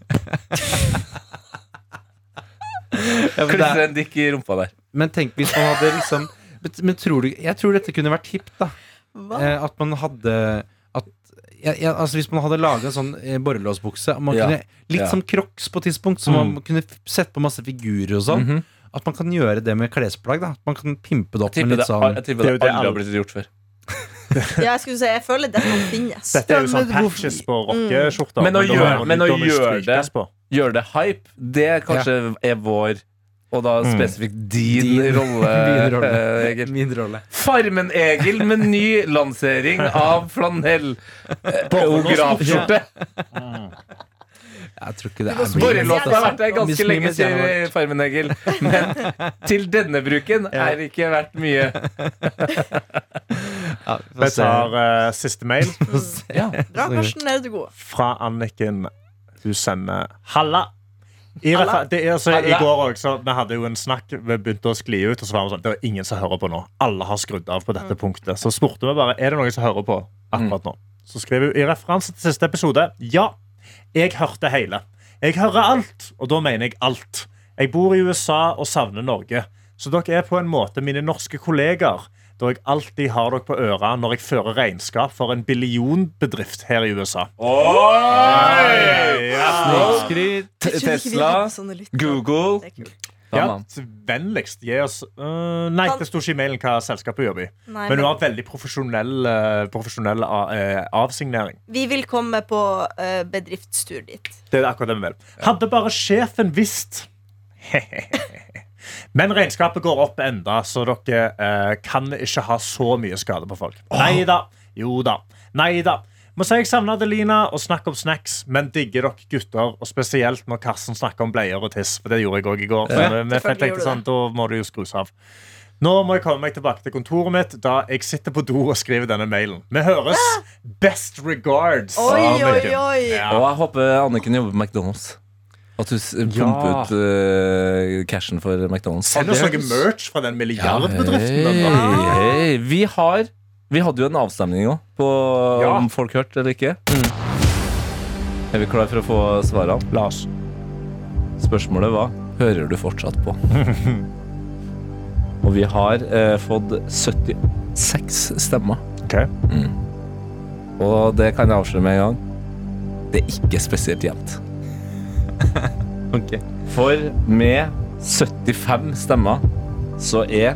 Speaker 4: Ja, men, det
Speaker 2: klistre
Speaker 4: er,
Speaker 2: en dikk i rumpa der.
Speaker 4: men tenk hvis man hadde liksom Men, men tror du, jeg tror dette kunne vært hipt, da.
Speaker 6: Hva?
Speaker 4: Eh, at man hadde at, ja, ja, altså Hvis man hadde laga en sånn eh, borrelåsbukse man
Speaker 2: Ja.
Speaker 4: kunne, Litt
Speaker 2: Ja.
Speaker 4: som Crocs på et tidspunkt, så man kunne f- sette på masse figurer og sånn.
Speaker 2: Mhm.
Speaker 4: At man kan gjøre det med klesplagg. da At Man kan pimpe det opp med
Speaker 2: Tipper
Speaker 4: litt
Speaker 2: det,
Speaker 4: sånn
Speaker 2: jeg tipper det
Speaker 5: Det er jo det
Speaker 2: aldri har
Speaker 5: alle-
Speaker 2: blitt gjort før.
Speaker 6: Ja, jeg skulle si, jeg føler dette finnes.
Speaker 5: Dette er jo
Speaker 4: Ja,
Speaker 5: sånn
Speaker 4: men hvorfor-
Speaker 5: patches på rockeskjorter.
Speaker 2: Men å
Speaker 5: da
Speaker 2: gjøre-
Speaker 5: må du-
Speaker 2: men å
Speaker 5: da må du
Speaker 2: gjøre det-
Speaker 5: strykes på.
Speaker 2: Gjør det hype. Det kanskje er vår Og da spesifikt din, rolle,
Speaker 4: Min Mm. rolle.
Speaker 2: eh, Egil.
Speaker 4: Min rolle.
Speaker 2: Farmen-Egil med ny lansering av flanell eh, Geografskjorte.
Speaker 4: Jeg tror ikke det
Speaker 2: Ja.
Speaker 4: er
Speaker 2: Borrelåten har vært der
Speaker 4: Miss
Speaker 2: ganske
Speaker 4: Me,
Speaker 2: lenge,
Speaker 4: Miss
Speaker 2: sier
Speaker 4: Januar.
Speaker 2: Farmen-Egil. Men til denne bruken er ikke verdt mye.
Speaker 4: Ja, vi får
Speaker 5: Jeg
Speaker 4: se.
Speaker 5: tar eh, siste mail
Speaker 6: Bra, Karsten. Der er du god.
Speaker 5: fra Anniken. Hun sender halla. I, hvert fall- det, er altså, I
Speaker 2: Halla.
Speaker 5: går også, Vi hadde jo en snakk, vi begynte å skli ut. Og så var vi sånn, det er ingen som hører på nå. Alle har skrudd av på dette punktet. Så spurte vi bare er det noen som hører på akkurat nå. Så skriver hun i referanse til siste episode ja, jeg hørte hele. Jeg hører alt, og da mener jeg alt. Jeg bor i USA og savner Norge. Så dere er på en måte mine norske kollegaer, da jeg alltid har dere på øra når jeg fører regnskap for en billionbedrift her i USA.
Speaker 4: Snikskryt.
Speaker 6: Jeg trodde ikke vi
Speaker 2: Tesla,
Speaker 6: hadde sånne lyttere.
Speaker 2: Google.
Speaker 6: Det er kult.
Speaker 2: Ja,
Speaker 5: Ja,
Speaker 2: mann.
Speaker 5: så vennligst gi oss øh, Nei, det sto ikke i mailen hva selskapet jobber i.
Speaker 6: Nei,
Speaker 5: Men
Speaker 6: men
Speaker 5: hun har veldig profesjonell, øh, profesjonell a- eh, avsignering.
Speaker 6: vi vil komme på eh, bedriftstur dit.
Speaker 5: Det er akkurat det vi vil. Hadde bare sjefen visst Men regnskapet går opp enda, så dere eh, kan ikke ha så mye skade på folk. Nei da. Jo da. Nei da. Må si jeg savner Adelina og snakk om snacks, men digger dere gutter. Og spesielt når Karsten snakker om bleier og tiss, for det gjorde jeg òg i går. Så vi- vi
Speaker 6: selvfølgelig
Speaker 5: tenkte
Speaker 6: gjorde
Speaker 5: sånn, da må du jo skrus av. Nå må jeg komme meg tilbake til kontoret mitt, da jeg sitter på do og skriver denne mailen. Vi høres. Best regards.
Speaker 6: Ah! Oi, oi,
Speaker 5: Anniken.
Speaker 6: oi!
Speaker 2: Og jeg håper Anniken jobber på McDonald's. At du s- pumper ut eh, cashen for McDonald's.
Speaker 5: Send oss noe merch fra den milliardbedriften.
Speaker 2: Hei,
Speaker 5: da. Ah.
Speaker 2: hei. Vi har Vi hadde jo en avstemning òg, på
Speaker 5: Ja. Mm.
Speaker 2: om folk hørte eller ikke. Er vi klar for å få svarene?
Speaker 5: Lars.
Speaker 2: Spørsmålet var Hører du fortsatt på? Og vi har eh, fått 76 stemmer. Mm.
Speaker 5: Ok.
Speaker 2: Og det kan jeg avsløre med en gang. Det er ikke spesielt jevnt.
Speaker 4: Ok.
Speaker 2: For med 75 stemmer så E. er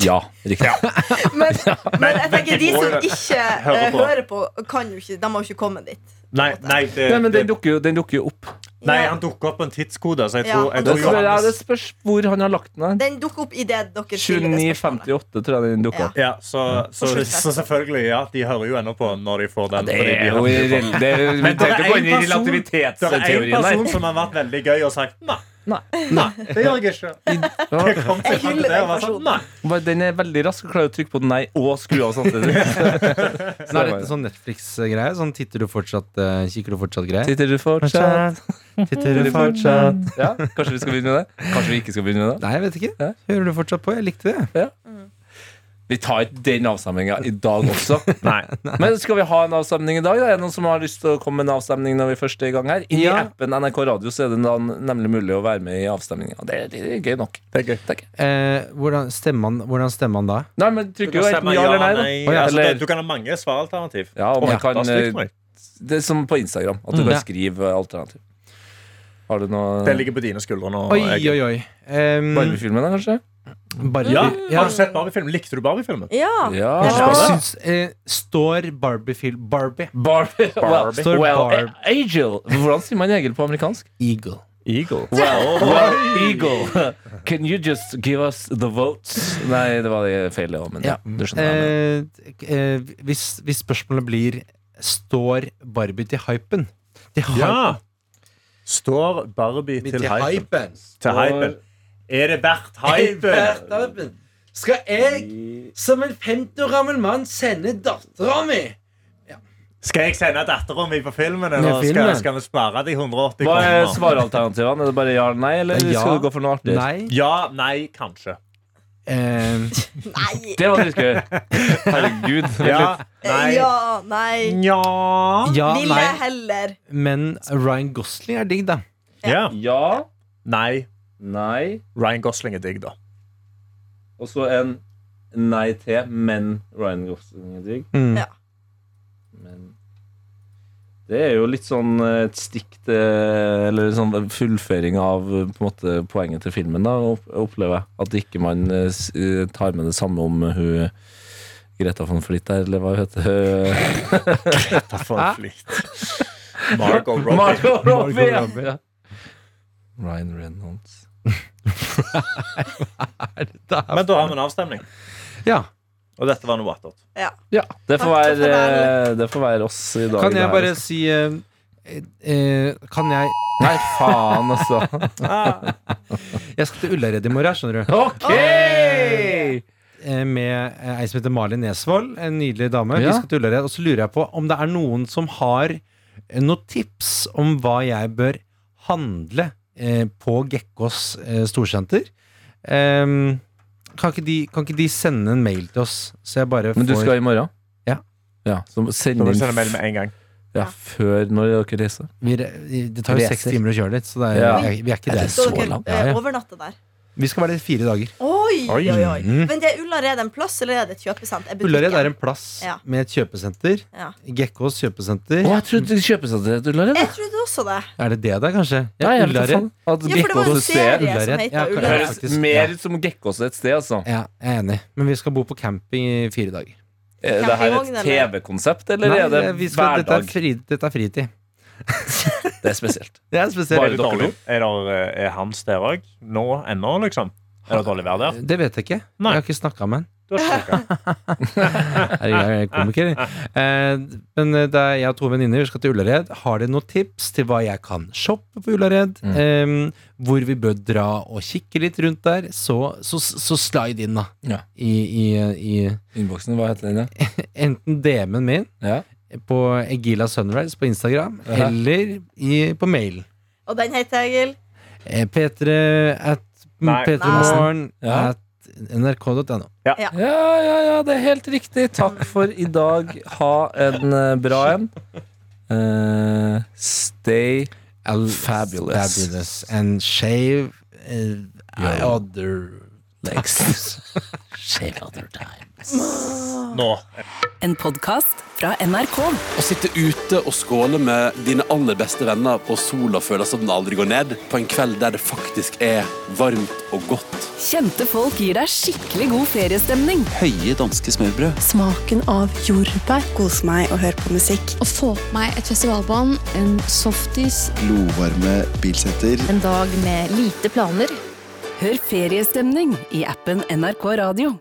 Speaker 2: Ja, riktig.
Speaker 6: Men, men jeg tenker de som
Speaker 5: Hører på.
Speaker 6: ikke eh, hører på, kan jo ikke, de har jo ikke kommet dit.
Speaker 5: Nei, nei, det,
Speaker 2: Nei, men den dukker jo, den dukker jo opp.
Speaker 5: nei,
Speaker 6: Ja.
Speaker 5: han dukker opp på en tidskode. Så jeg
Speaker 6: Ja,
Speaker 5: tror,
Speaker 6: han
Speaker 5: jeg
Speaker 2: Det spørs, ja,
Speaker 5: tror
Speaker 6: dukker opp.
Speaker 2: det
Speaker 5: Johannes
Speaker 2: spørs hvor han har lagt den.
Speaker 6: Den dukker opp idet dere stiller det spørsmålet.
Speaker 2: 29,58 tror jeg den dukker opp.
Speaker 5: ja, så, så, så selvfølgelig, ja. De hører jo ennå på når de får den.
Speaker 2: Det
Speaker 5: fordi de
Speaker 2: er
Speaker 5: har
Speaker 2: jo
Speaker 5: hørt på.
Speaker 2: irrel- det er- Vi
Speaker 5: Men det er
Speaker 2: trenger ikke gå inn i
Speaker 5: en person- det er en
Speaker 2: relativitetsteorien
Speaker 5: person
Speaker 2: der.
Speaker 5: som har vært veldig gøy og sagt nei.
Speaker 2: Nei.
Speaker 5: Nei, det gjør jeg ikke. Jeg kom til
Speaker 6: Jeg
Speaker 5: det, og
Speaker 6: hyller den
Speaker 5: var sånn,
Speaker 6: personen.
Speaker 5: nei.
Speaker 2: Bare Den er veldig rask og klarer å trykke på nei og skru av samtidig.
Speaker 4: Så det er litt sånn Netflix-greie. Sånn titter du fortsatt, eh, kikker du fortsatt-greie.
Speaker 2: Sitter du fortsatt?
Speaker 4: Titter du fortsatt
Speaker 2: Ja, kanskje vi skal begynne med det? Kanskje vi ikke skal begynne med det?
Speaker 4: Nei, jeg vet ikke.
Speaker 2: Hæ?
Speaker 4: Hører du fortsatt på? Jeg likte det.
Speaker 2: Vi tar ikke den avstemninga i dag også. Men skal vi ha en avstemning i dag? Da? Er det noen som har lyst til å komme med en avstemning når vi først er i gang her? I
Speaker 4: Ja.
Speaker 2: appen NRK Radio så er det da nemlig mulig å være med i avstemninga. Det, er- det er gøy nok. Det er gøy. Takk.
Speaker 4: Eh, hvordan, stemmer han, hvordan stemmer han da?
Speaker 2: Nei, men
Speaker 5: Du
Speaker 2: trykker
Speaker 5: kan
Speaker 2: jo enten
Speaker 5: stemme
Speaker 2: ja
Speaker 5: ja,
Speaker 2: eller nei, da.
Speaker 5: nei.
Speaker 2: Å, ja.
Speaker 5: Altså,
Speaker 2: Eller-
Speaker 5: du kan ha mange svaralternativ.
Speaker 2: Ja, og
Speaker 5: Å,
Speaker 2: man
Speaker 5: ja,
Speaker 2: kan, eh,
Speaker 5: da stryker meg.
Speaker 2: det er som på Instagram, at du
Speaker 4: Mm.
Speaker 2: kan
Speaker 4: Ja.
Speaker 2: skrive alternativ. Har du noe
Speaker 5: Det ligger på dine skuldre nå.
Speaker 4: Oi,
Speaker 5: Egil.
Speaker 4: oi, oi. Um,
Speaker 2: Barbie-filmen, da, kanskje?
Speaker 4: Barbie.
Speaker 5: Ja,
Speaker 4: Ja.
Speaker 5: Har du sett Barbie-filmen? Likte du Barbie-filmen?
Speaker 6: Ja.
Speaker 4: Jeg
Speaker 2: Ja.
Speaker 5: Ja.
Speaker 4: syns, eh, står Barbie-film Barbie.
Speaker 2: Barbie. Well,
Speaker 5: Barbie.
Speaker 4: Står
Speaker 2: well,
Speaker 4: Barb-
Speaker 2: eh, Angel. Hvordan sier man Egil på amerikansk?
Speaker 4: Eagle.
Speaker 5: Eagle.
Speaker 2: Well, well, Eagle, can you just give us the votes? Nei, det var det feil, det òg, men ja, du skjønner.
Speaker 4: Eh, eh, hvis, hvis spørsmålet blir Står Barbie til hypen? Til
Speaker 5: Ja! Står Barbie
Speaker 4: hypen.
Speaker 5: til hypen? Til hypen. Er det verdt hypen?
Speaker 4: Skal jeg, som en 50 år gammel mann, sende dattera mi?
Speaker 5: Skal jeg sende dattera mi på filmen,
Speaker 4: Med
Speaker 5: eller skal,
Speaker 4: filmen.
Speaker 5: skal vi spare de 180
Speaker 2: Hva er
Speaker 5: kronene?
Speaker 2: svaralternativene? Er det bare ja eller nei, eller
Speaker 4: Ja.
Speaker 2: skal du gå for noe artig?
Speaker 4: Nei.
Speaker 5: Ja, nei, kanskje.
Speaker 4: Eh,
Speaker 6: Nei.
Speaker 2: Det var dritgøy. Herregud. vent
Speaker 5: Ja,
Speaker 2: litt.
Speaker 5: nei,
Speaker 6: Ja, nei.
Speaker 5: nja
Speaker 4: ja,
Speaker 6: Vil
Speaker 4: nei.
Speaker 6: jeg heller.
Speaker 4: Men Ryan Gosling er digg, da.
Speaker 5: ja.
Speaker 2: Ja,
Speaker 5: Nei.
Speaker 2: nei,
Speaker 5: Ryan Gosling er digg, da.
Speaker 2: og så en Eh, nei til, men Ryan Gosling er digg.
Speaker 4: Mm.
Speaker 6: Ja.
Speaker 2: Men det er jo litt sånn eh, et stikk til Eller sånn fullføring av eh, på en måte, poenget til filmen, da, opp- opplever jeg. At ikke man eh, s- eh, tar med det samme om eh, hun Greta von Flitt der, eller hva hun heter.
Speaker 5: Ta for en flikt.
Speaker 9: Marco Robbie.
Speaker 2: Margot Robbie! Ja.
Speaker 4: Robbie.
Speaker 2: Ja. Ryan Reynolds.
Speaker 5: Men da har vi en avstemning.
Speaker 4: Ja.
Speaker 5: Og dette var noe attåt.
Speaker 2: Ja, det får,
Speaker 6: Takk for
Speaker 2: være, eh,
Speaker 6: det.
Speaker 2: det får være oss i dag.
Speaker 4: Kan jeg
Speaker 2: det her,
Speaker 4: bare
Speaker 2: altså.
Speaker 4: si eh, eh, Kan jeg
Speaker 2: Nei, faen, altså.
Speaker 4: Jeg skal til Ullared i morgen, skjønner du.
Speaker 2: OK!
Speaker 4: Eh, Med eh, ei som heter Malin Nesvold. En nydelig dame.
Speaker 2: Ja.
Speaker 4: Vi skal til Ullared. Og så lurer jeg på om det er noen som har eh, noen tips om hva jeg bør handle eh, på Gekkås eh, storsenter. Ehm, kan, ikke de, kan ikke de sende en mail til oss, så jeg bare får
Speaker 2: Men du skal i morgen?
Speaker 4: Ja.
Speaker 2: ja så send
Speaker 5: Da må
Speaker 2: inn
Speaker 5: vi sende mail med en gang.
Speaker 2: ja, før når dere reiser.
Speaker 4: vi, re- Det tar jo seks
Speaker 2: Reiser.
Speaker 4: timer å kjøre dit, så det er,
Speaker 2: Ja.
Speaker 4: vi er ikke
Speaker 2: Er det
Speaker 4: der.
Speaker 2: så
Speaker 6: Skal dere
Speaker 2: langt?
Speaker 4: Ja, ja.
Speaker 6: eh, overnatte der?
Speaker 4: Vi skal være der i fire dager.
Speaker 6: Oi, oi,
Speaker 5: Oi.
Speaker 6: oi.
Speaker 4: Mm.
Speaker 6: Men det er Ullared en plass, eller er det et kjøpesenter? Er
Speaker 4: Ullared
Speaker 6: butikken?
Speaker 4: er en plass
Speaker 6: Ja.
Speaker 4: med et kjøpesenter.
Speaker 6: Ja.
Speaker 4: Gekkås kjøpesenter.
Speaker 2: Å, jeg trodde kjøpesenteret til Ullared.
Speaker 6: Jeg trodde også det.
Speaker 4: Er det det der, kanskje?
Speaker 2: Ja, jeg vet
Speaker 4: Ullared.
Speaker 2: faen. At
Speaker 6: Ja, for det var en
Speaker 2: Gekkås
Speaker 6: serie
Speaker 2: ser
Speaker 6: som
Speaker 4: Ullared.
Speaker 6: heter
Speaker 4: Ja, kan-
Speaker 2: Det
Speaker 4: ja,
Speaker 6: Ullared.
Speaker 2: høres
Speaker 4: faktisk.
Speaker 2: mer ut som Gekkås et sted, altså.
Speaker 4: Ja, jeg er enig. Men vi skal bo på camping i fire dager.
Speaker 2: Er Eh, det her et
Speaker 6: Campingvogn, eller?
Speaker 2: TV-konsept, eller er det
Speaker 4: vi skal, dette, er
Speaker 2: hverdag?
Speaker 4: fri, dette er fritid.
Speaker 2: Det er spesielt.
Speaker 4: Det er
Speaker 2: Bare
Speaker 5: Er
Speaker 4: spesielt.
Speaker 5: det dårlig? Er, det, eh, er Hans der òg? Nå ennå, liksom? Er det dårlig vær der?
Speaker 4: Det vet jeg ikke.
Speaker 5: Nei.
Speaker 4: Jeg har ikke snakka med han.
Speaker 5: Du har ikke snakket.
Speaker 4: Herregud, Jeg er komiker. Eh, Men det er jeg og to venninner vi skal til Ullared. Har dere noen tips til hva jeg kan shoppe på Ullared?
Speaker 2: Mm.
Speaker 4: Eh, Hvor vi bør dra og kikke litt rundt der? Så, så, så slide inn, da.
Speaker 2: Ja.
Speaker 4: I, i, i
Speaker 2: Innboksen, hva heter den? ja?
Speaker 4: enten DM-en min
Speaker 2: Ja.
Speaker 4: på Egila Sunrise på Instagram,
Speaker 2: Aha.
Speaker 4: eller i, på mailen.
Speaker 6: Og den heter Egil.
Speaker 4: Eh, P3 at
Speaker 5: Nei.
Speaker 4: P3morgen
Speaker 2: Ja.
Speaker 4: at nrk.no.
Speaker 2: Ja, ja, ja, det er helt riktig. Takk for i dag. Ha en eh, bra en. Eh, stay
Speaker 4: Al-
Speaker 2: Fabulous.
Speaker 4: Fabulous. And shave eh, other legs.
Speaker 1: Shave other time.
Speaker 5: Nå.
Speaker 10: En podkast fra NRK.
Speaker 11: Å sitte ute og skåle med dine aller beste venner på sola føles som den aldri går ned, på en kveld der det faktisk er varmt og godt.
Speaker 10: Kjente folk gir deg skikkelig god feriestemning.
Speaker 11: Høye danske smørbrød.
Speaker 10: Smaken av jordbær.
Speaker 12: Kos meg og hør på musikk.
Speaker 10: Å få meg et festivalbånd. En softis.
Speaker 11: Glovarme bilsetter.
Speaker 10: En dag med lite planer. Hør feriestemning i appen NRK Radio.